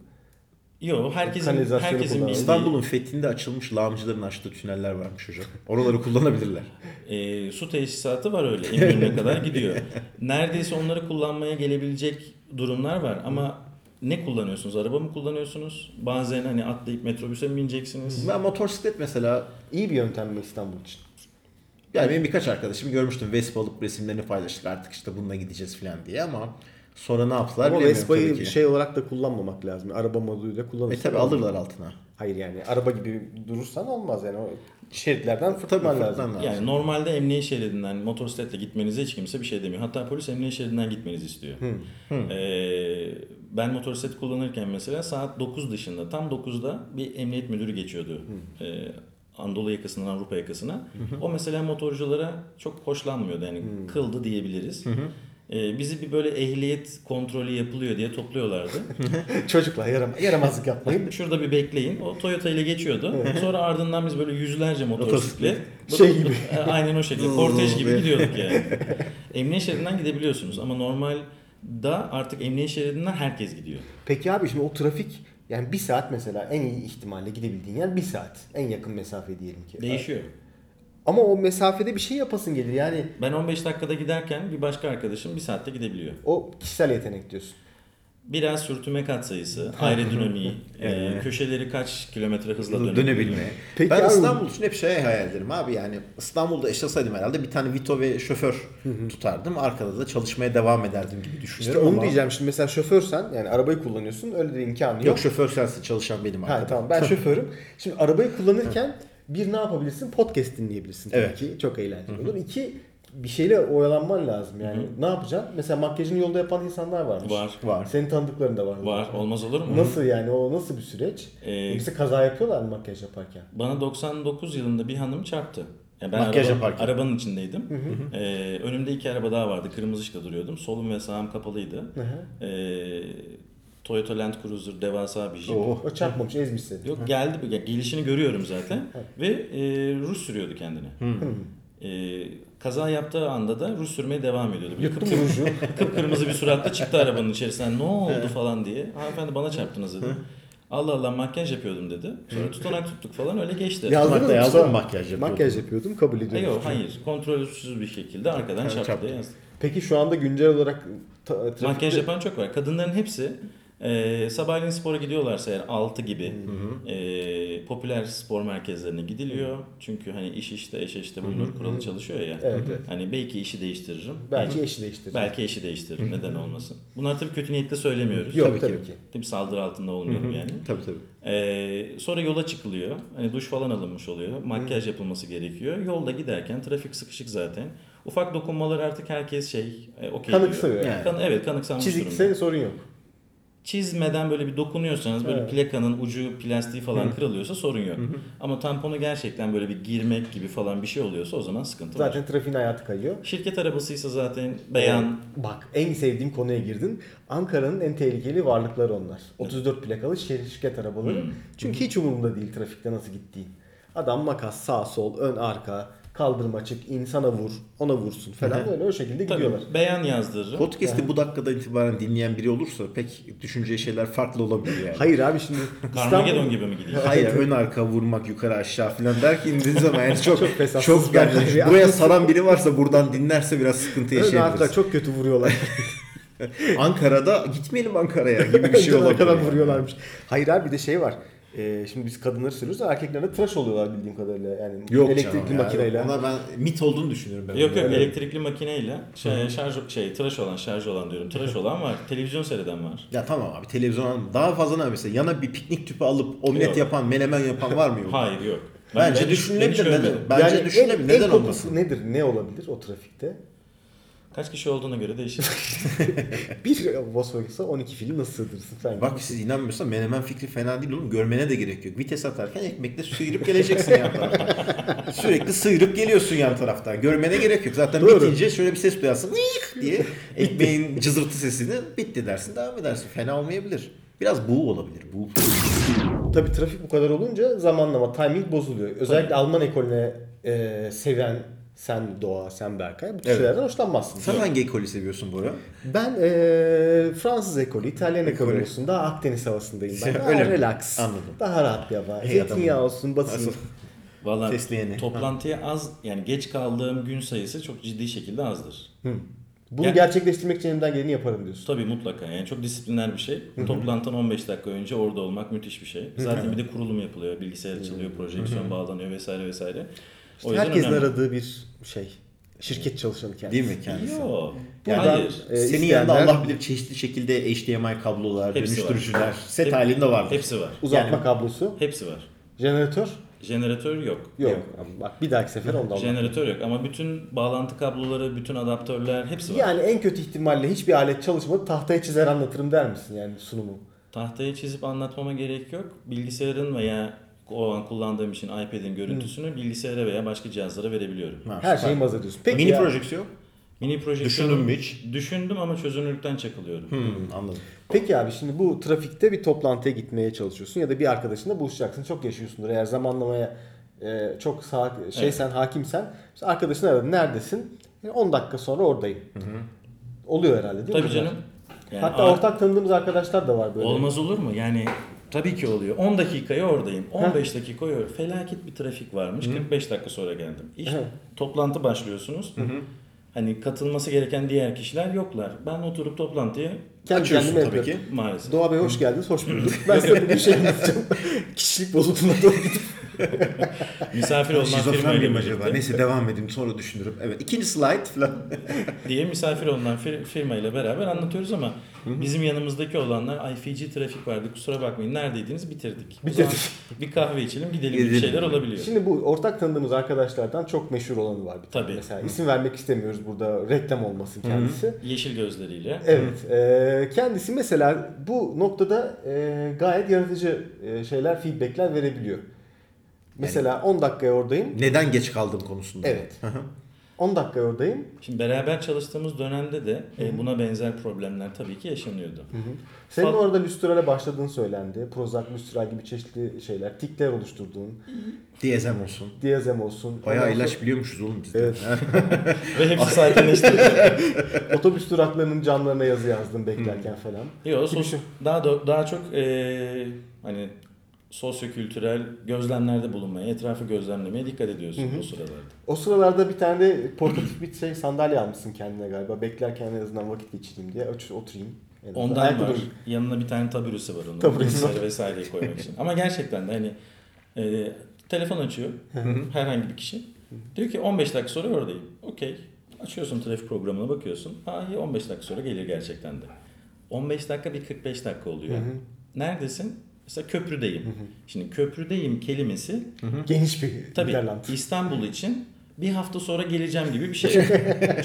Yok herkesin, Kanalizasyonu herkesin kullanalım. bir isteği. İstanbul'un fethinde açılmış lağımcıların açtığı tüneller varmış hocam. Oraları kullanabilirler. E, su tesisatı var öyle. Eminönü'ne kadar gidiyor. Neredeyse onları kullanmaya gelebilecek durumlar var ama ne kullanıyorsunuz? Araba mı kullanıyorsunuz? Bazen hani atlayıp metrobüse mi bineceksiniz? Ben motosiklet mesela İyi bir yöntem mi İstanbul için? yani benim birkaç arkadaşım görmüştüm Vespa alıp resimlerini paylaştık artık işte bununla gideceğiz falan diye ama sonra ne yaptılar Ama bilmiyorum tabii Vespa'yı ki. şey olarak da kullanmamak lazım. Araba moduyla E kullanırsın. tabi alırlar altına. Hayır yani araba gibi durursan olmaz yani. O şeritlerden Tabii fırtman lazım. fırtından lazım. Yani normalde emniyet şeridinden motosikletle gitmenize hiç kimse bir şey demiyor. Hatta polis emniyet şeridinden gitmenizi istiyor. Ee, ben motosiklet kullanırken mesela saat 9 dışında tam 9'da bir emniyet müdürü geçiyordu. Ee, Anadolu yakasından Avrupa yakasına. O mesela motorculara çok hoşlanmıyordu. Yani kıldı diyebiliriz. Ee, bizi bir böyle ehliyet kontrolü yapılıyor diye topluyorlardı. Çocuklar yaram yaramazlık yapmayın. Şurada bir bekleyin. O Toyota ile geçiyordu. Sonra ardından biz böyle yüzlerce motosiklet. Şey gibi. Aynen o şekilde. Zıl Kortej zıl gibi diye. gidiyorduk yani. emniyet şeridinden gidebiliyorsunuz ama normal da artık emniyet şeridinden herkes gidiyor. Peki abi şimdi o trafik yani bir saat mesela en iyi ihtimalle gidebildiğin yer bir saat. En yakın mesafe diyelim ki. Değişiyor. Ama o mesafede bir şey yapasın gelir yani Ben 15 dakikada giderken bir başka arkadaşım bir saatte gidebiliyor. o kişisel yetenek diyorsun. Biraz sürtünme katsayısı, aerodinamiği, e, köşeleri kaç kilometre hızla dönebilme. dönebilmeye. Peki ben abi- İstanbul için hep şey hayal ederim abi yani İstanbul'da yaşasaydım herhalde bir tane Vito ve şoför tutardım. Arkada da çalışmaya devam ederdim gibi İşte düşünüyorum onu ama diyeceğim şimdi mesela şoförsen yani arabayı kullanıyorsun öyle bir imkanı yok. Yok şoför sensin çalışan benim Ha arkada. tamam ben şoförüm. Şimdi arabayı kullanırken bir ne yapabilirsin? Podcast dinleyebilirsin tabii Evet. ki. Çok eğlenceli olur. İki bir şeyle oyalanman lazım yani. Ne yapacaksın? Mesela makyajını yolda yapan insanlar varmış. Var. Var. Senin tanıdıkların da var. mı? Var. Olmaz olur mu? Nasıl yani o nasıl bir süreç? Ee, Yoksa kaza yapıyorlar mı makyaj yaparken? Bana 99 yılında bir hanım çarptı. Ya ben Makyaj araba- yaparken. arabanın içindeydim. Ee, önümde iki araba daha vardı. Kırmızı ışıkta duruyordum. Solum ve sağım kapalıydı. Ee, Toyota Land Cruiser devasa bir jip. Oo. O çarpmamış ezmiş seni. Yok geldi bu. Ya Gelişini görüyorum zaten. ve e, Rus sürüyordu kendini. Ee, kaza yaptığı anda da Rus sürmeye devam ediyordu. Böyle Yuttu mu ruju? kıpkırmızı bir suratla çıktı arabanın içerisinden. Ne oldu falan diye. Hanımefendi bana çarptınız dedi. Allah Allah makyaj yapıyordum dedi. Sonra tutanak tuttuk falan öyle geçti. Yazdın Hatta mı? yazdın Sonra- mı makyaj yapıyordum? Makyaj yapıyordum kabul Ha, ediyorum. yok hayır. Kontrolsüz bir şekilde arkadan çarptı. çarptı. diye yazdı. Peki şu anda güncel olarak ta- trafikte Makyaj yapan çok var. Kadınların hepsi e, sabahleyin spora gidiyorlarsa eğer 6 gibi e, popüler spor merkezlerine gidiliyor. Çünkü hani iş işte eş işte bulunur kuralı çalışıyor ya. Evet, evet. Hani belki işi değiştiririm. belki belki, eşi değiştirir. belki işi değiştiririm. Neden olmasın. Bunlar tabii kötü niyetle söylemiyoruz. Yok Tabii tabii, ki. ki. Tabii saldırı altında olmuyorum yani. Tabii tabii. Ee, sonra yola çıkılıyor. Hani duş falan alınmış oluyor. Makyaj yapılması gerekiyor. Yolda giderken trafik sıkışık zaten. Ufak dokunmalar artık herkes şey e, okey Kanıksıyor diyor. yani. Kan- evet kanıksanmış Çizikse durumda. sorun yok. Çizmeden böyle bir dokunuyorsanız böyle Evet. plakanın ucu plastiği falan kırılıyorsa sorun yok. Ama tamponu gerçekten böyle bir girmek gibi falan bir şey oluyorsa o zaman sıkıntı var. Zaten trafiğin hayatı kayıyor. Şirket arabasıysa zaten beyan Bak en sevdiğim konuya girdin. Ankara'nın en tehlikeli varlıkları onlar. 34 plakalı şir- şirket arabaları. Hmm. Çünkü hiç umurumda değil trafikte nasıl gittiğin. Adam makas sağ sol ön arka kaldırım açık insana vur ona vursun falan böyle o şekilde tabii, gidiyorlar. beyan yazdırırım. Podcast'i bu dakikadan itibaren dinleyen biri olursa pek düşüneceği şeyler farklı olabilir yani. Hayır abi şimdi Carmageddon gibi mi gidiyor? Hayır ön arka vurmak yukarı aşağı falan der ki indiğin zaman yani çok Çok çok, fesat, yani süper. şey. buraya saran biri varsa buradan dinlerse biraz sıkıntı Ön yaşayabiliriz. arka çok kötü vuruyorlar. Ankara'da gitmeyelim Ankara'ya gibi bir şey Önceden olabilir. kadar yani. vuruyorlarmış. Hayır abi bir de şey var. Ee, şimdi biz kadınları sürüyoruz ama erkekler de tıraş oluyorlar bildiğim kadarıyla. Yani Yok elektrikli makineyle. Ona ben mit olduğunu düşünüyorum ben. Yok onu. yok elektrikli makineyle şey, şarj şey tıraş olan şarj olan diyorum tıraş olan var televizyon seyreden var. Ya tamam abi televizyon alma. daha fazla ne var mesela yana bir piknik tüpü alıp omlet Yok. yapan menemen yapan var mı yok? Hayır yok. Bence hiç- hiç düşünülebilir. görmedim. neden- Bence en- en düşünülebilir. Neden kokusu olmasın? nedir? Ne olabilir o trafikte? Kaç kişi olduğuna göre değişir. Bir e, Volkswagen'sa 12 fili nasıl sığdırırsın sen? Bak siz inanmıyorsan menemen fikri fena değil oğlum. Görmene de gerek yok. Vites atarken ekmekle sıyırıp geleceksin yan taraftan. Sürekli sıyırıp geliyorsun yan taraftan. Görmene gerek yok. Zaten Doğru. bitince şöyle bir ses duyarsın. "Vıyık" diye ekmeğin cızırtı sesini bitti dersin. Devam edersin. Fena olmayabilir. Biraz buğu olabilir. Buğu. Tabii trafik bu kadar olunca zamanlama, timing bozuluyor. Özellikle Alman ekolüne e, seven Sen Doğa, sen Berkay. Bu tür Evet. şeylerden hoşlanmazsın. Sen hangi ekolü seviyorsun Bora? Ben eee Fransız ekolü, İtalyan ekolü olsun. Daha Akdeniz havasındayım ben. Daha Öyle mi? relax. Anladım. Daha rahat bir hava. İyi Zeytinyağı adamım. olsun, basın. Valla Fesleğeni. toplantıya az yani geç kaldığım gün sayısı çok ciddi şekilde azdır. Bunu Ya- gerçekleştirmek için elimden geleni yaparım diyorsun. Tabii mutlaka yani çok disipliner bir şey. Toplantıdan 15 dakika önce orada olmak müthiş bir şey. Zaten bir de kurulum yapılıyor, bilgisayar açılıyor, projeksiyon bağlanıyor vesaire vesaire. İşte herkesin aradığı bir şey. Şirket çalışanı kendisi. Değil mi kendisi? Yok. Yani Hayır. e, senin isteyenler- yanında Allah bilir çeşitli şekilde HDMI kablolar, Hepsi dönüştürücüler, var. set Hep- halinde var. Hepsi var. Uzatma kablosu, Hepsi var. jeneratör Jeneratör yok. yok. Bak bir dahaki sefer ondan bak. Jeneratör yok ama bütün bağlantı kabloları, bütün adaptörler hepsi var. Yani en kötü ihtimalle hiçbir alet çalışmadı tahtaya çizer anlatırım der misin yani sunumu? Tahtaya çizip anlatmama gerek yok. Bilgisayarın veya o an kullandığım için iPad'in görüntüsünü bilgisayara veya başka cihazlara verebiliyorum. Hmm. Ha, Her süper. şeyi maz ediyorsun. Peki Mini ya, projeksiyon. Mini proje Düşündün mü hiç? Düşündüm ama çözünürlükten çakılıyorum. Hmm, anladım. Peki abi şimdi bu trafikte bir toplantıya gitmeye çalışıyorsun ya da bir arkadaşınla buluşacaksın. Çok yaşıyorsundur eğer zamanlamaya e, çok sağ, şey sen hakimsen. İşte arkadaşını aradın neredesin? E, 10 dakika sonra oradayım. Oluyor herhalde değil mi? Tabii canım. Yani Hatta a- ortak tanıdığımız arkadaşlar da var böyle. olmaz olur mu? Yani tabii ki oluyor. 10 dakikaya oradayım. 15 dakikaya or- felaket bir trafik varmış. 45 dakika sonra geldim. İş Hı. toplantı başlıyorsunuz. Hani katılması gereken diğer kişiler yoklar. Ben oturup toplantıya Kendi Açıyorsun kendime tabii yapıyorum. ki. maalesef Doğa Bey hoş geldiniz, hoş bulduk. Ben size bir şey anlatacağım. Kişilik bozukluğuna doğru gidip. misafir olan firmayla miyim birlikte- Neyse devam edeyim sonra düşünürüm. Evet ikinci slide falan. diye misafir olan fir- firmayla beraber anlatıyoruz ama bizim yanımızdaki olanlar ay feci trafik vardı kusura bakmayın neredeydiniz bitirdik. O zaman bir kahve içelim gidelim gibi Gidelim. şeyler olabiliyor. Şimdi bu ortak tanıdığımız arkadaşlardan çok meşhur olanı var bir tane. Tabii. Mesela isim vermek istemiyoruz burada reklam olmasın kendisi. Yeşil gözleriyle. Evet. e, kendisi mesela bu noktada e, gayet yaratıcı e, şeyler, feedbackler verebiliyor. Mesela 10 dakikaya oradayım. Neden geç kaldım konusunda. Evet. 10 dakikaya oradayım. Şimdi beraber çalıştığımız dönemde de e, buna benzer problemler tabii ki yaşanıyordu. Senin Fal- orada lüstrale başladığın söylendi. Prozac, lüstral gibi çeşitli şeyler, tikler oluşturduğun, DSM olsun. diyazem olsun. Bayağı Ondan sonra- ilaç biliyormuşuz oğlum biz de. Evet. Ve hepsi sakinleşti. Otobüs duraklarının camlarına yazı yazdım beklerken falan. Yok, Gibi şey. daha da, daha çok e, hani sosyokültürel gözlemlerde bulunmaya, etrafı gözlemlemeye dikkat ediyorsun bu sıralarda. O sıralarda bir tane de portatif bir şey sandalye almışsın kendine galiba. Beklerken en azından vakit geçireyim diye. Otur- Oturayım. En azından Ondan ayakta var. durayım. Yanına bir tane taburesi var onun. Taburesi Bilgisayarı vesaire koymak için. Ama gerçekten de hani e, telefon açıyor herhangi bir kişi. Diyor ki 15 dakika sonra oradayım. Okey. Açıyorsun trafik programına bakıyorsun. Ha iyi 15 dakika sonra gelir gerçekten de. 15 dakika bir 45 dakika oluyor. Neredesin? Mesela köprüdeyim. Şimdi köprüdeyim kelimesi Geniş bir Tabii Niderland. İstanbul için bir hafta sonra geleceğim gibi bir şey.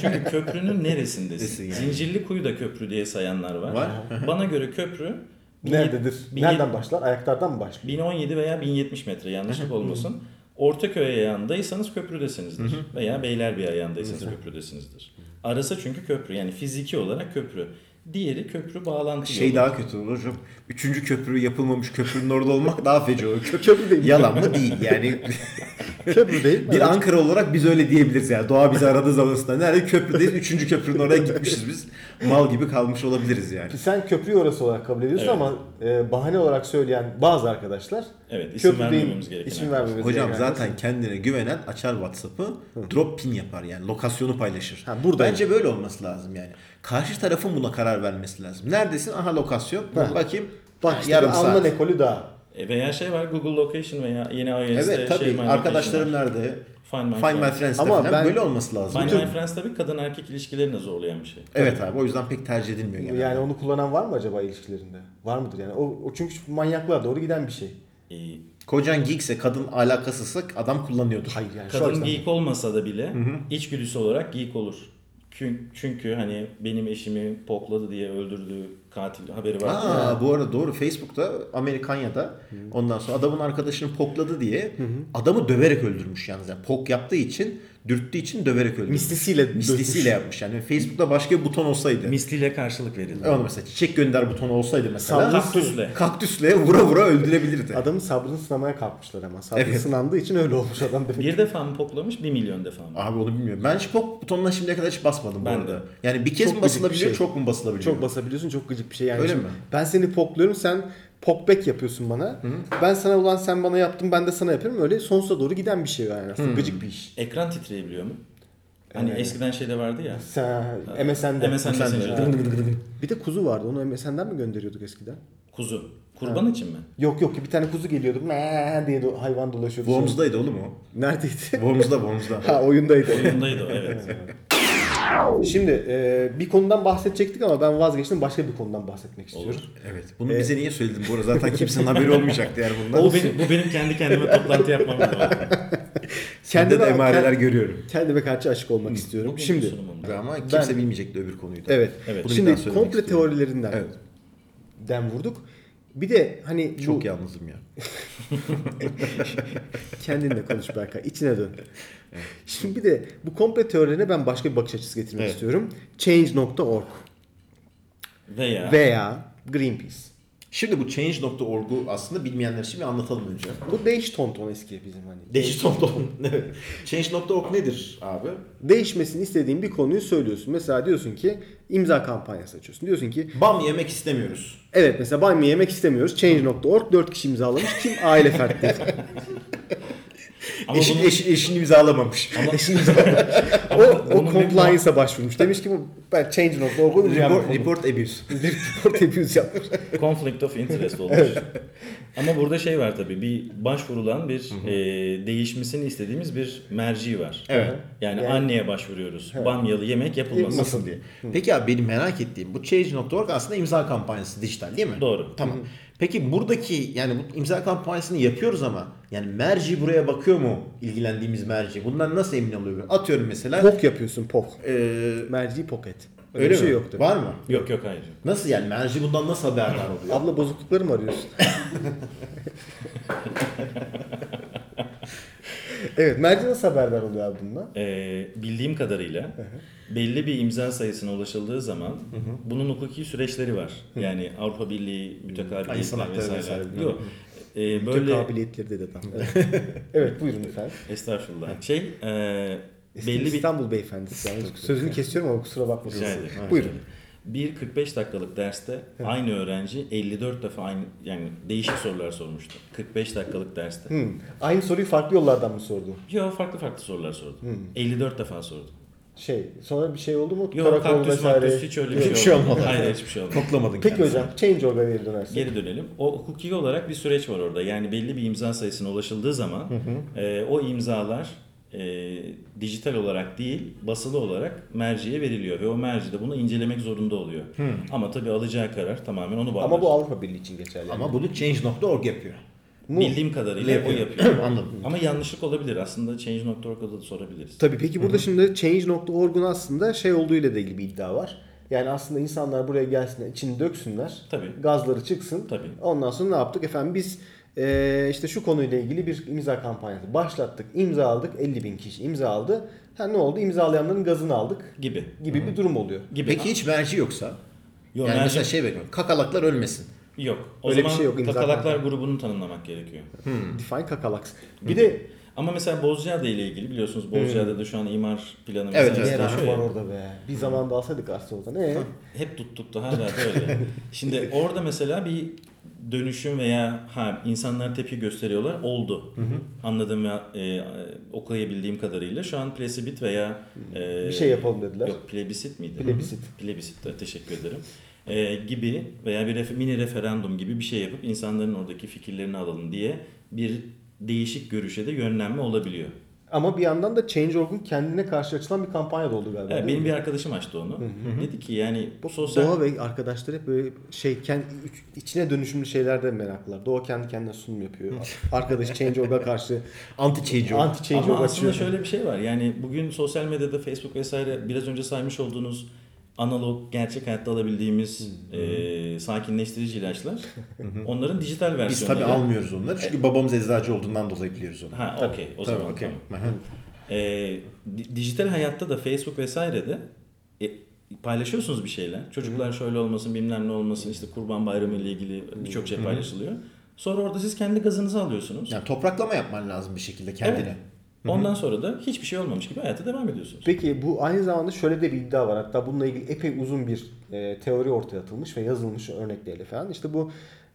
Çünkü köprünün neresindesin? Desin yani. Zincirli kuyu da köprü diye sayanlar var. Var. Bana göre köprü bin- Nerededir? bin- Nereden başlar? Ayaklardan mı başlar? 1017 veya 1070 metre yanlışlık olmasın. Ortaköy ayağındaysanız köprüdesinizdir. veya Beylerbeyi ayağındaysanız köprüdesinizdir. Arası çünkü köprü yani fiziki olarak köprü. Diğeri köprü bağlantı Şey yolu. daha kötü olur hocam. Üçüncü köprü yapılmamış köprünün orada olmak daha feci olur. Köprü Köprü değil. yalan mı değil yani. Köprü değil. bir Ankara olarak biz öyle diyebiliriz yani. Doğa bizi aradığı zaman nerede köprüdeyiz? Üçüncü köprünün oraya gitmişiz biz. Mal gibi kalmış olabiliriz yani. Hani Sen köprüyü orası olarak kabul ediyorsun Evet. ama e, bahane olarak söyleyen bazı arkadaşlar Evet, isim köprü değil, vermememiz gereken isim vermememiz Hocam gereken zaten kendine güvenen açar WhatsApp'ı, drop pin yapar yani lokasyonu paylaşır. Ha, buradayım. Bence böyle olması lazım yani. Karşı tarafın buna karar vermesi lazım. Neredesin? Aha lokasyon. Bakayım. Bak Ha, işte yarım yarım Alman saat. ekolü daha. E, Veya şey var Google Location veya yeni iOS'te Evet tabii. şey, My Arkadaşlarım Location var. nerede? Find My Find My Friends. Friends'te Ama falan ben- böyle olması lazım. Find Bütün- My Friends tabii kadın erkek ilişkilerini zorlayan bir şey. Evet abi o yüzden pek tercih edilmiyor genelde. Yani onu kullanan var mı acaba ilişkilerinde? Var mıdır yani? O, o çünkü manyaklığa doğru giden bir şey. İyi. Kocan geekse kadın alakasızsa adam kullanıyordur. Hayır yani şu Kadın açıdan- geek olmasa da bile içgüdüsü olarak geek olur. Çünkü, çünkü hani benim eşimi pokladı diye öldürdüğü katil haberi var. Aa, bu arada doğru Facebook'ta Amerikanya'da ondan sonra adamın arkadaşını pokladı diye adamı döverek öldürmüş yalnız. Yani pok yaptığı için dürttüğü için döverek öldürmüş. Mislisiyle Mislisiyle yapmış. Yani Facebook'ta başka bir buton olsaydı. E, Misliyle karşılık verildi. Onu mesela çiçek gönder butonu olsaydı mesela. Salla. Kaktüsle. Kaktüsle vura vura öldürebilirdi. Adamın sabrını sınamaya kalkmışlar ama. Sabrı Evet. sınandığı için öyle olmuş adam demek. Bir defa mı poklamış, bir milyon defa mı? Abi onu bilmiyorum. Ben hiç pop butonuna şimdiye kadar hiç basmadım Ben bu arada. Yani bir kez Çok gıcık bir mi basılabiliyor, şey. çok mu basılabiliyor? Çok basabiliyorsun çok gıcık bir şey yani. Öyle Şimdi mi? Ben seni pokluyorum sen pokback yapıyorsun bana. Ben sana ulan sen bana yaptın ben de sana yapıyorum. Öyle sonsuza doğru giden bir şey yani aslında gıcık bir iş. Ekran titreyebiliyor mu? Hani Ee, eskiden şeyde vardı ya. Sen MSN'de. MSN şey. Messenger'da. Messenger'da. Bir de kuzu vardı onu MSN'den mi gönderiyorduk eskiden? Kuzu. Kurban için mi? Yok yok bir tane kuzu geliyordu. Meh diye do- hayvan dolaşıyordu. Worms'daydı oğlum o. Neredeydi? Worms'da, Worms'da. ha oyundaydı. Oyundaydı o evet. Şimdi e, bir konudan bahsedecektik ama ben vazgeçtim. Başka bir konudan bahsetmek istiyorum. Evet. Bunu E- bize niye söyledin bu arada? Zaten kimsenin haberi olmayacaktı yani bundan. bu, benim, bu benim kendi kendime toplantı yapmam lazım. Sende de Kendime- emareler görüyorum. Kendime karşı aşık olmak istiyorum. Bugünkü Şimdi sunumumda. Ama kimse Ben- bilmeyecekti öbür konuyu da. evet. Evet. Bunu bir daha Şimdi söylemek komple istiyorum. teorilerinden Evet. den vurduk. Bir de hani bu Çok yalnızım ya. kendinle konuş Berkay. içine dön. Şimdi bir de bu komple teorilerine ben başka bir bakış açısı getirmek Evet. istiyorum. Change.org Veya, veya Greenpeace. Şimdi bu change.org'u aslında bilmeyenler için bir anlatalım önce. Bu değiş tonton eski bizim hani. Change.org evet. Change.org nedir abi? Değişmesini istediğin bir konuyu söylüyorsun. Mesela diyorsun ki imza kampanyası açıyorsun. Diyorsun ki Bam yemek istemiyoruz. evet mesela bamya yemek istemiyoruz. Change.org 4 kişi imzalamış. Kim? Aile fertleri. ama Eşin, bunun, eşin, eşini imzalamamış. o o bunun ne- compliance'a başvurmuş. Demiş ki bu ben Change.org'u report, report, report abuse. report abuse yapmış. conflict of interest olmuş. Ama burada şey var tabii bir başvurulan bir e, değişmesini istediğimiz bir merci var. Evet. Yani, Yani- anneye başvuruyoruz. Bamyalı yemek yapılmasın. Nasıl diye. Peki abi benim merak ettiğim bu Change.org aslında imza kampanyası dijital değil mi? Doğru. Tamam. Peki buradaki yani bu imza kampanyasını yapıyoruz ama yani merci buraya bakıyor mu ilgilendiğimiz merci? Bundan nasıl emin oluyor? Atıyorum mesela. Pok yapıyorsun pok. eee, Merci pocket. Öyle, Ee, öyle bir şey mi? yoktu. Var mı? Yok yok hayır. Nasıl yani merci bundan nasıl haberdar oluyor? Abla bozuklukları mı arıyorsun? evet, merci nasıl haberdar oluyor abi bundan? Ee, bildiğim kadarıyla belli bir imza sayısına ulaşıldığı zaman bunun hukuki süreçleri var. Yani Avrupa Birliği Ay, mütekabiliyetler sanatları vesaire. vesaire bilmem Yok. Ee, Böyle... böyle Kabiliyetleri dedi adam. Evet. evet, buyurun efendim. estağfurullah. Şey e, Belli belli bir İstanbul beyefendisi. Yani sözünü kesiyorum ama kusura bakmayın. Rica ederim. Buyurun. Bir 45 dakikalık derste aynı öğrenci 54 defa aynı yani değişik sorular sormuştu. 45 dakikalık derste. Hı. Hmm. Aynı soruyu farklı yollardan mı sordu? Yo farklı farklı sorular sordu. Hmm. 54 defa sordu. Şey, sonra bir şey oldu mu? Yok Karakol kaktüs vesaire. maktüs hiç öyle bir şey, Hiçbir şey olmadı. Hayır hiçbir şey olmadı. Toplamadın Peki kendisini. hocam, change orga geri dönersek. Geri dönelim. O hukuki olarak bir süreç var orada. Yani belli bir imza sayısına ulaşıldığı zaman e, o imzalar e, dijital olarak değil basılı olarak merciye veriliyor ve o merci de bunu incelemek zorunda oluyor. Ama tabii alacağı karar tamamen onu bağlar. Ama bu Avrupa Birliği için geçerli. Ama bunu change.org yapıyor. Mu- Bildiğim kadarıyla Yapıyor. o yapıyor. Anladım. Ama yanlışlık olabilir. Aslında change.org'a da sorabiliriz. Tabii peki burada şimdi change.org'un aslında şey olduğuyla da ilgili bir iddia var. Yani aslında insanlar buraya gelsinler, içini döksünler, Tabii. gazları çıksın. Tabii. Ondan sonra ne yaptık? Efendim biz eee, işte şu konuyla ilgili bir imza kampanyası başlattık, imza aldık, 50 bin kişi imza aldı. Ha ne oldu? İmzalayanların gazını aldık Gibi. gibi bir durum oluyor. Gibi. Peki hiç merci yoksa? Yok, yani merci- mesela şey bekliyorum. Kakalaklar ölmesin. Yok. O Öyle bir zaman şey yok, imza kakalaklar kampanya. grubunu tanımlamak gerekiyor. Define kakalaks. Bir de Ama mesela Bozcaada ile ilgili biliyorsunuz Bozcaada'da Hmm. şu an imar planı Evet, vesaire evet. yer çalışıyor var ya. orada be. Bir zaman da alsaydık Arsenal'dan. Ee? Hep tuttuk da hala da öyle. Şimdi orada mesela bir dönüşüm veya ha insanlar tepki gösteriyorlar oldu. Anladığım ve e, okuyabildiğim kadarıyla şu an plesibit veya e, Bir şey yapalım dediler. Yok plebisit miydi? Plebisit. Plebisit de teşekkür ederim. Ee, gibi veya bir refe- mini referandum gibi bir şey yapıp insanların oradaki fikirlerini alalım diye bir değişik görüşe de yönlenme olabiliyor. Ama bir yandan da Change.org'un kendine karşı açılan bir kampanya da oldu galiba. Evet, değil mi? benim bir arkadaşım açtı onu. Dedi ki yani bu sosyal... Doğa ve arkadaşları hep böyle şey kendi içine dönüşümlü şeylerde meraklılar. Doğa kendi kendine sunum yapıyor. Arkadaş Change.org'a karşı Anti change.org. anti Ama Change.org aslında açıyor. şöyle bir şey var. Yani bugün sosyal medyada Facebook vesaire biraz önce saymış olduğunuz analog, gerçek hayatta alabildiğimiz e, sakinleştirici ilaçlar. onların dijital versiyonları. Biz tabii almıyoruz onları çünkü babamız eczacı olduğundan dolayı biliyoruz onu. E- Ha okey o Tabii, zaman okey. tamam. Aha. Ee, di- dijital hayatta da Facebook vesairede e, paylaşıyorsunuz bir şeyler. Çocuklar şöyle olmasın bilmem ne olmasın işte kurban bayramı ile ilgili birçok şey paylaşılıyor. Sonra orada siz kendi gazınızı alıyorsunuz. Yani topraklama yapman lazım bir şekilde kendine. Evet. Ondan sonra da hiçbir şey olmamış gibi hayata devam ediyorsunuz. Peki bu aynı zamanda şöyle de bir iddia var. Hatta bununla ilgili epey uzun bir e, teori ortaya atılmış ve yazılmış örnekleriyle falan. İşte bu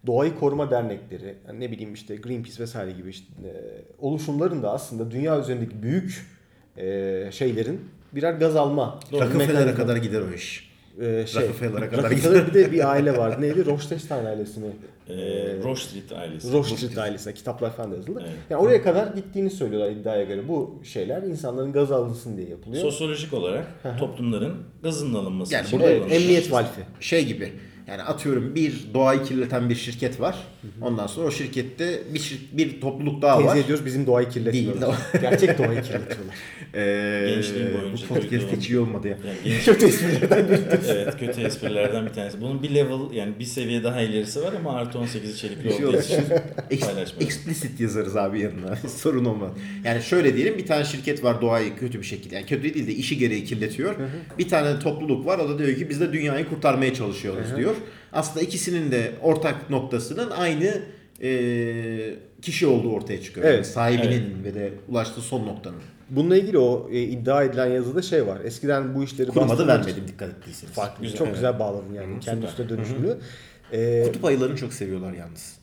doğayı koruma dernekleri, yani ne bileyim işte Greenpeace vesaire gibi işte, e, oluşumların da aslında dünya üzerindeki büyük e, şeylerin birer gaz alma. Rockefeller'a mekanizması. kadar gider o iş. Ee, şey, Rockefeller'a kadar Rockefeller bir de bir aile vardı. Neydi? Rothstein ailesi mi? Ee, Roche Street ailesi. Rothschild ailesine kitaplar falan da yazıldı. Evet. Yani oraya kadar gittiğini söylüyorlar iddiaya göre. Bu şeyler insanların gaz alınsın diye yapılıyor. Sosyolojik olarak toplumların gazının alınması Yani için burada evet, kullanılmış. emniyet valfi. Şey gibi yani atıyorum bir doğayı kirleten bir şirket var. Ondan sonra o şirkette bir, şir- bir topluluk daha var. Teyze ediyoruz bizim doğayı kirletiyorlar. Gerçek doğayı kirletiyorlar. Ee, Gençliğin boyunca bu podcast duyduğum- hiç iyi olmadı ya. Yani genç- Kötü esprilerden biri. evet kötü esprilerden bir tanesi. Bunun bir level yani bir seviye daha ilerisi var ama artı 18'i Bir çelikli şey olduğu olmaz. için Ex- paylaşmayalım. explicit yazarız abi yanına. Sorun olmaz. Yani şöyle diyelim bir tane şirket var doğayı kötü bir şekilde. Yani kötü değil de işi gereği kirletiyor. Bir tane topluluk var o da diyor ki biz de dünyayı kurtarmaya çalışıyoruz diyor. Aslında ikisinin de ortak noktasının aynı e, kişi olduğu ortaya çıkıyor. Evet. Yani sahibinin ve de ulaştığı son noktanın. Bununla ilgili o e, iddia edilen yazıda şey var. Eskiden bu işleri Kurmadı bastırmak için- vermedim dikkat ettiyseniz. Farklı. Güzel, Çok evet. güzel bağladın yani. Kendi üstüne dönüşümlü. Ee, E, Kutup ayılarını çok seviyorlar yalnız.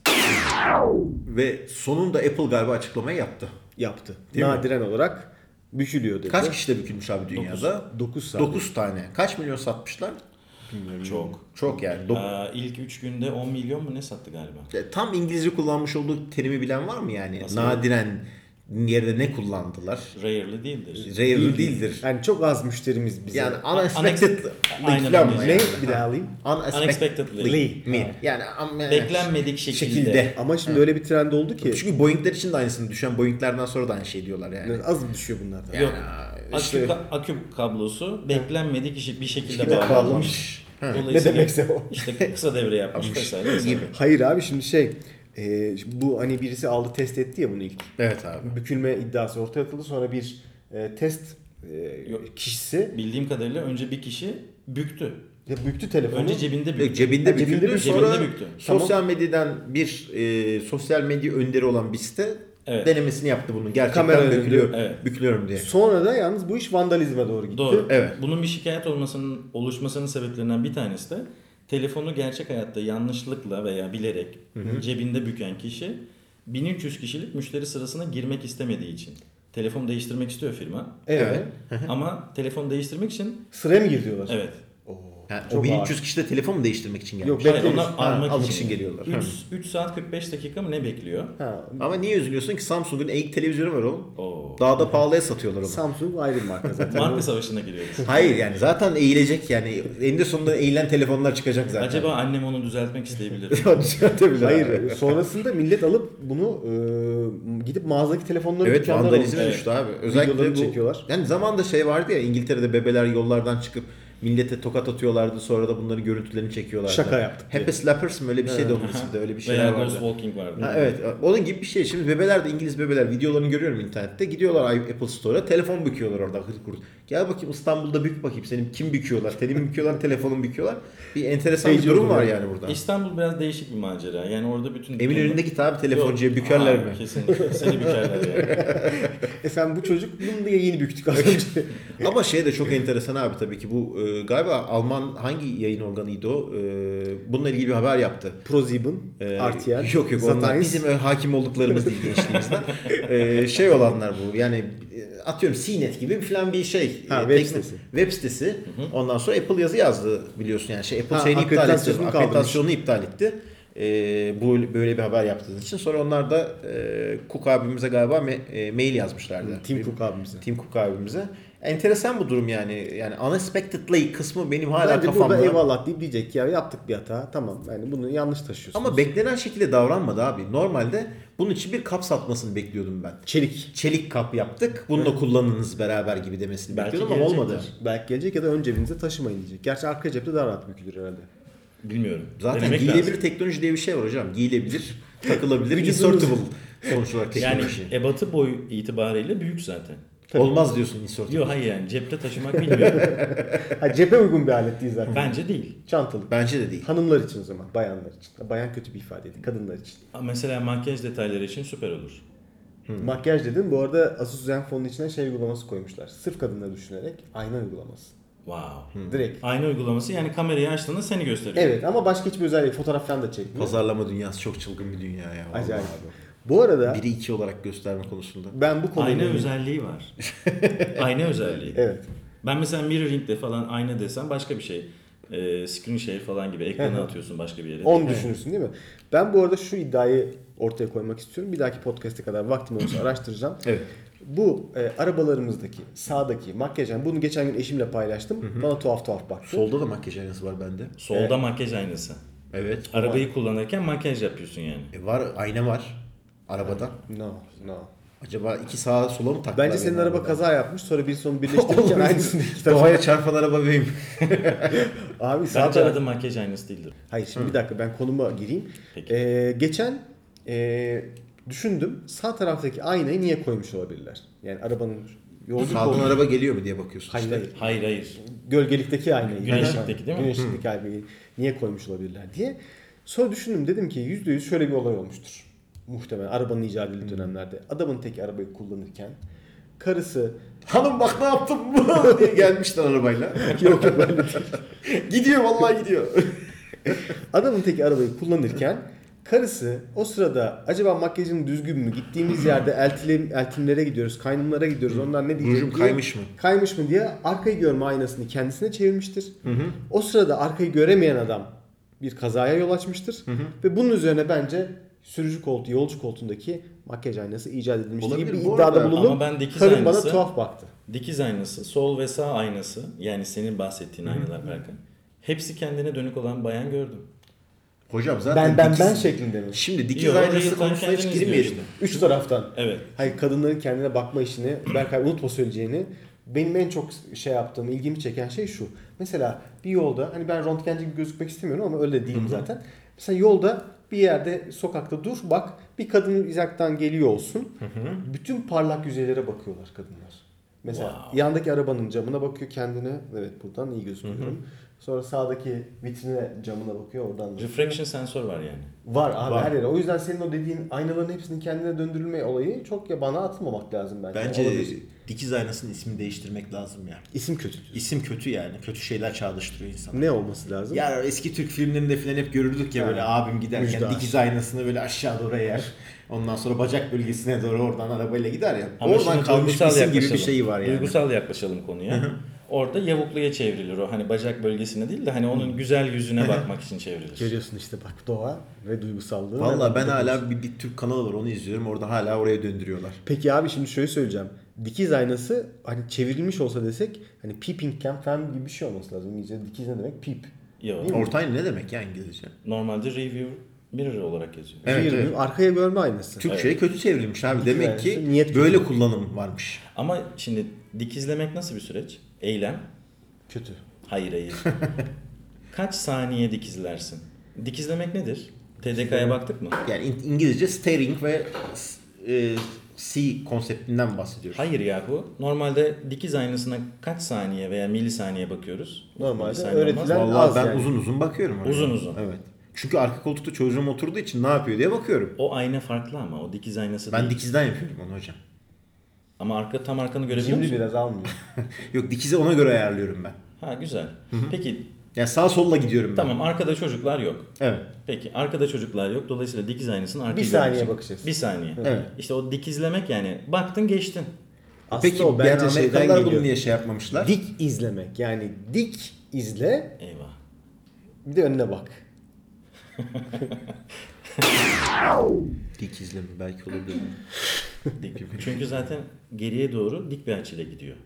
Ve sonunda Apple galiba açıklamayı yaptı. yaptı. Değil mi? Nadiren olarak bükülüyor dedi. Kaç kişi de bükülmüş abi dünyada? 9 saat. 9 tane. Kaç milyon satmışlar? Çok. Çok yani. Dok- Aa, ilk 3 günde 10 milyon mu ne sattı galiba? E, Tam İngilizce kullanmış olduğu terimi bilen var mı yani? Nasıl? Nadiren yerine ne kullandılar? Rare'lı değildir. Rare değildir. Yani çok az müşterimiz bize. Yani Yani unexpected Aynen falan öyle. mı ne? yani? Bir daha alayım. Unexpectedly. Lee. Mi? Yani ama- Beklenmedik şekilde. şekilde. Ama şimdi öyle bir trend oldu ki. Çünkü Boeing'ler için de aynısını düşen Boeing'lerden sonra da aynı şey diyorlar yani. Yani az düşüyor bunlardan. Yok. işte- Akü, akü kablosu beklenmedik işi bir şekilde Şekilde bağlanmış. Ne demekse o. İşte kısa devre yapmış vesaire. vesaire. Hayır abi şimdi şey. e, şimdi bu hani birisi aldı test etti ya bunu ilk. Evet abi. Bükülme iddiası ortaya atıldı. Sonra bir e, test e, Yok. kişisi Bildiğim kadarıyla önce bir kişi büktü. ya büktü telefonu. Önce cebinde Yok, büktü. E, cebinde Cebinde büküldü. bir- sonra cebinde büktü. sosyal medyadan bir e, sosyal medya önderi olan bir site Evet. denemesini yaptı bunun. Gerçekten Kamera bükülüyor, önünde. Evet. bükülüyorum diye. Sonra da yalnız bu iş vandalizme doğru gitti. Doğru. Evet. Bunun bir şikayet olmasının oluşmasının sebeplerinden bir tanesi de telefonu gerçek hayatta yanlışlıkla veya bilerek cebinde büken kişi 1300 kişilik müşteri sırasına girmek istemediği için. Telefon değiştirmek istiyor firma. Evet. Ama telefon değiştirmek için Sıraya mı gir diyorlar? evet. Ha, Çok o 1300 kişi de telefon mu değiştirmek için geldi? Yok, Hayır, Beklemiş. onlar Ha, almak, almak için, için geliyorlar. 3, 3 saat 45 dakika mı ne bekliyor? Ha, Ama niye üzülüyorsun ki Samsung'un eğik televizyonu var oğlum. Oo. Daha da pahalıya satıyorlar onu. Samsung ayrı bir marka zaten. Marka savaşına giriyoruz. Hayır yani zaten eğilecek yani. Eninde sonunda eğilen telefonlar çıkacak zaten. Acaba annem onu düzeltmek isteyebilir mi? Düzeltebilir abi. Hayır. sonrasında millet alıp bunu e, gidip mağazadaki telefonları Evet dükkanlara vandalizme olmuş. düştü abi. Özellikle Videoları bu, çekiyorlar. Yani zamanda şey vardı ya İngiltere'de bebeler yollardan çıkıp millete tokat atıyorlardı. Sonra da bunların görüntülerini çekiyorlardı. Şaka yaptık diye. Happy Slappers mı öyle bir şey de onun ismi de öyle bir şeyler Veya Ghost vardı. Walking vardı. Ha, evet onun gibi bir şey. Şimdi bebeler de İngiliz bebeler videolarını görüyorum internette. Gidiyorlar Apple Store'a telefon büküyorlar orada hır kurt. Gel bakayım İstanbul'da bük bakayım senin kim büküyorlar? Telimi büküyorlar telefonum büküyorlar. Bir enteresan bir Şey Heyecan durum var oluyor. yani burada. İstanbul biraz değişik bir macera. Yani orada bütün... Eminönü'nde git abi telefoncuya Yok. bükerler Aa, mi? Kesinlikle. Seni bükerler yani. Efendim E, bu çocuk bunu diye yeni büktük az önce. Ama şey de çok enteresan abi tabii ki bu e, galiba Alman hangi yayın organıydı o? E, bununla ilgili bir haber yaptı. ProSieben, Ee, RTL, Yok yok onlar Satanis. bizim öyle hakim olduklarımız değil gençliğimizden. Ee, şey olanlar bu yani e, atıyorum CNET gibi falan bir şey. Ha, Ee, web teknik- sitesi. Web sitesi. Ondan sonra Apple yazı yazdı biliyorsun yani şey Apple Ha, şeyini iptal etti. akreditasyonunu kaldırmış. Akreditasyonunu iptal etti. Ee, bu böyle bir haber yaptığınız için sonra onlar da e, Cook abimize galiba me- e, mail yazmışlardı. Tim Cook abimize. Tim Cook abimize. Enteresan bu durum yani. Yani unexpectedly kısmı benim hala Bence kafamda. burada eyvallah deyip diyecek ki ya yaptık bir hata. Tamam yani bunu yanlış taşıyorsunuz. Ama beklenen şekilde davranmadı abi. Normalde bunun için bir kap satmasını bekliyordum ben. çelik. Çelik kap yaptık. Bunu da kullanınız beraber gibi demesini Belki bekliyordum ama olmadı. gelecektir. Belki gelecek ya da ön cebinize taşımayın diyecek. Gerçi arka cepte daha rahat bükülür herhalde. Bilmiyorum. Zaten Denemek giyilebilir lazım. teknoloji diye bir şey var hocam. Giyilebilir, takılabilir, Vücudunuz- insertable sonuç olarak Yani e, teknoloji. ebatı boyu itibariyle büyük zaten. Olmaz diyorsun insert. Yok hayır yani cepte taşımak bilmiyorum. Ha, cebe uygun bir alet değil zaten. Bence değil. Çantalı. Bence de değil. Hanımlar için o zaman, bayanlar için. Bayan kötü bir ifadeydi, kadınlar için. Mesela makyaj detayları için süper olur. Hmm. Makyaj dedim, bu arada Asus Zenfone'un içine şey uygulaması koymuşlar. Sırf kadınları düşünerek ayna uygulaması. Wow. Hmm. Direkt. Aynı uygulaması yani kamerayı açtığında seni gösteriyor. Evet ama başka hiçbir özelliği fotoğraf falan da çekmiyor. Pazarlama dünyası çok çılgın bir dünya ya. vallahi Acayip. abi. Bu arada Biri iki olarak gösterme konusunda. ben bu konuda... Ayna özelliği var. ayna özelliği. Evet. Ben mesela mirroring'de falan ayna desem başka bir şey. Ee, screen share falan gibi ekrana atıyorsun başka bir yere. Onu düşünürsün değil mi? Ben bu arada şu iddiayı ortaya koymak istiyorum. Bir dahaki podcast'e kadar vaktim olursa araştıracağım. Evet. Bu e, arabalarımızdaki, sağdaki makyaj, yani bunu geçen gün eşimle paylaştım. Bana tuhaf tuhaf baktı. Solda da makyaj aynası var bende. Solda makyaj aynası. Evet. Arabayı kullanırken makyaj yapıyorsun yani. E var ayna var arabada. No, no. Acaba iki sağa sola mı taktılar? Bence senin beni araba arabada? kaza yapmış sonra birisi onu Oğlum, birleştirirken aynısını iki tarafa- Doğaya çarpan araba benim. Abi sağ Bence taraf- arada makyaj aynası değildir. Hayır şimdi bir dakika ben konuma gireyim. Peki. Ee, geçen ee, düşündüm sağ taraftaki aynayı niye koymuş olabilirler? Yani arabanın yolcu Sağdan koltuğu- araba geliyor mu diye bakıyorsun Hayır, işte. hayır. Hayır hayır. Gölgelikteki aynayı. Güneşlikteki değil mi? Güneşlikteki aynayı niye koymuş olabilirler diye. Sonra düşündüm dedim ki %100 şöyle bir olay olmuştur. Muhtemelen arabanın icat edildiği dönemlerde. Adamın tek arabayı kullanırken karısı Hanım bak ne yaptım bu diye gelmişler arabayla. yok yok böyle değil. gidiyor vallahi gidiyor. Adamın tek arabayı kullanırken karısı o sırada acaba makyajım düzgün mü? Gittiğimiz yerde eltile, eltimlere gidiyoruz, kaynımlara gidiyoruz. Onlar ne diyecek Rujum diye- kaymış mı? Kaymış mı diye arkayı görme aynasını kendisine çevirmiştir. O sırada arkayı göremeyen adam bir kazaya yol açmıştır. Ve bunun üzerine bence sürücü koltuğu, yolcu koltuğundaki makyaj aynası icat edilmiştir Olabilir gibi bir bu iddiada arada. bulunup Ama ben dikiz karım bana aynası- tuhaf baktı. Dikiz aynası, sol ve sağ aynası yani senin bahsettiğin aynalar Berkan. Hepsi kendine dönük olan bayan gördüm. Hocam zaten Ben ben dikiz- ben şey- şeklinde mi? Şimdi dikiz Yok, aynası real-time konusuna hiç kendiniz girmeyelim. diyor Üç taraftan. Evet. Hayır kadınların kendine bakma işini Berkay unutma söyleyeceğini. Benim en çok şey yaptığım, ilgimi çeken şey şu. Mesela bir yolda hani ben röntgenci gibi gözükmek istemiyorum ama öyle de değilim zaten. Mesela yolda bir yerde sokakta dur bak bir kadın uzaktan geliyor olsun. Bütün parlak yüzeylere bakıyorlar kadınlar. Mesela Wow. yandaki arabanın camına bakıyor kendine. Evet buradan iyi gözüküyorum. Sonra sağdaki vitrine camına bakıyor oradan. da- Refraction sensör var yani. Var abi Var. her yere. O yüzden senin o dediğin aynaların hepsinin kendine döndürülme olayı çok ya bana atmamak lazım bence. Bence Olabilir. dikiz aynasının ismini değiştirmek lazım ya. isim kötü. diyorsun. İsim kötü yani. Kötü şeyler çağrıştırıyor insanı. Ne olması lazım? Ya eski Türk filmlerinde falan hep görürdük ya böyle abim giderken Müjde dikiz aynasını böyle aşağı doğru eğer. Ondan sonra bacak bölgesine doğru oradan arabayla gider ya. Ama oradan şimdi kalmış bir duygusal isim gibi bir yaklaşalım. şeyi var yani. Duygusal yaklaşalım konuya. Orada yavukluya çevrilir o. Hani bacak bölgesine değil de hani onun güzel yüzüne bakmak için çevrilir. Görüyorsun Şey işte bak doğa ve duygusallığı. Valla Vallahi ben hala bir, bir Türk kanalı var onu izliyorum. Orada hala oraya döndürüyorlar. Peki abi şimdi şöyle söyleyeceğim. Dikiz aynası hani çevrilmiş olsa desek hani peeping cam falan gibi bir şey olması lazım. İngilizce dikiz ne demek? Peep. Yok. Orta ayna ne demek ya İngilizce? Normalde review mirror olarak yazıyor. Evet, Rear evet. view, Arkaya görme aynası. Türkçe'ye kötü çevrilmiş abi. Demek aynası, ki niyet böyle kullanım varmış. Ama şimdi dikizlemek nasıl bir süreç? Eylem. Kötü. Hayır hayır. Kaç saniye dikizlersin? Dikizlemek nedir? TDK'ya baktık mı? Yani İng- İngilizce staring ve s- e, see konseptinden bahsediyoruz. Hayır yahu. Normalde dikiz aynasına kaç saniye veya milisaniye bakıyoruz? Normalde Milisaniye olmaz. öğretilen- az Vallahi ben yani. uzun uzun bakıyorum. oraya. Uzun uzun. Evet. Çünkü arka koltukta çocuğum oturduğu için ne yapıyor diye bakıyorum. O ayna farklı ama o dikiz aynası Ben değil. dikizden yapıyorum onu hocam. Ama arka tam arkanı görebiliyor Şimdi musun? biraz almıyor. Yok dikizi ona göre ayarlıyorum ben. Ha güzel. Peki Yani sağ solla gidiyorum ben. tamam arkada çocuklar yok. Evet. Peki arkada çocuklar yok. Dolayısıyla dikiz aynasının arkayı Bir saniye göreceksin. bakacağız. Bir saniye. Evet. İşte o dikizlemek yani baktın geçtin. Aslında Peki o yani bence şeyden Amerikalılar bunu geliyor. niye şey yapmamışlar? Dik izlemek yani dik izle Eyvah. bir de önüne bak. Dik izleme belki olabilir. Dik. şey. Çünkü zaten geriye doğru dik bir açıyla gidiyor.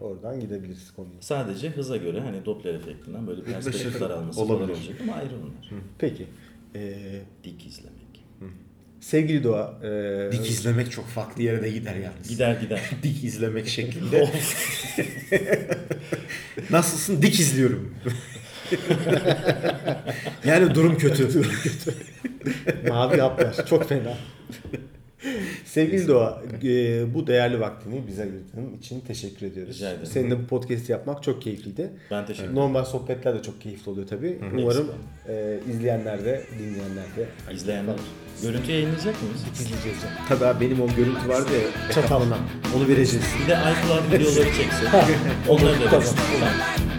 Oradan gidebiliriz konuya. Sadece hıza göre hani Doppler efektinden böyle perspektif daralması Olabilir. falan olacak ama ayrı onlar. Peki. Ee, Dik izlemek. sevgili Doğa. ee, Dik izlemek çok farklı yere de gider yalnız. Gider gider. Dik izlemek şeklinde. Nasılsın? Dik izliyorum. yani durum kötü. Mavi haplar çok fena. Sevgili Doğa, e, bu değerli vaktini bize ayırdığın için teşekkür ediyoruz. Rica ederim. Seninle bu podcast yapmak çok keyifliydi. Ben teşekkür ederim. Normal sohbetler de çok keyifli oluyor tabii. Umarım e, izleyenler de, dinleyenler de İzleyenler. Görüntü yayınlayacak mıyız? izleyeceğiz. Tabii abi benim o görüntü vardı ya. Çatalına. Onu vereceğiz. Bir de iCloud videoları çeksin. Onları da Tamam. versin. Tamam.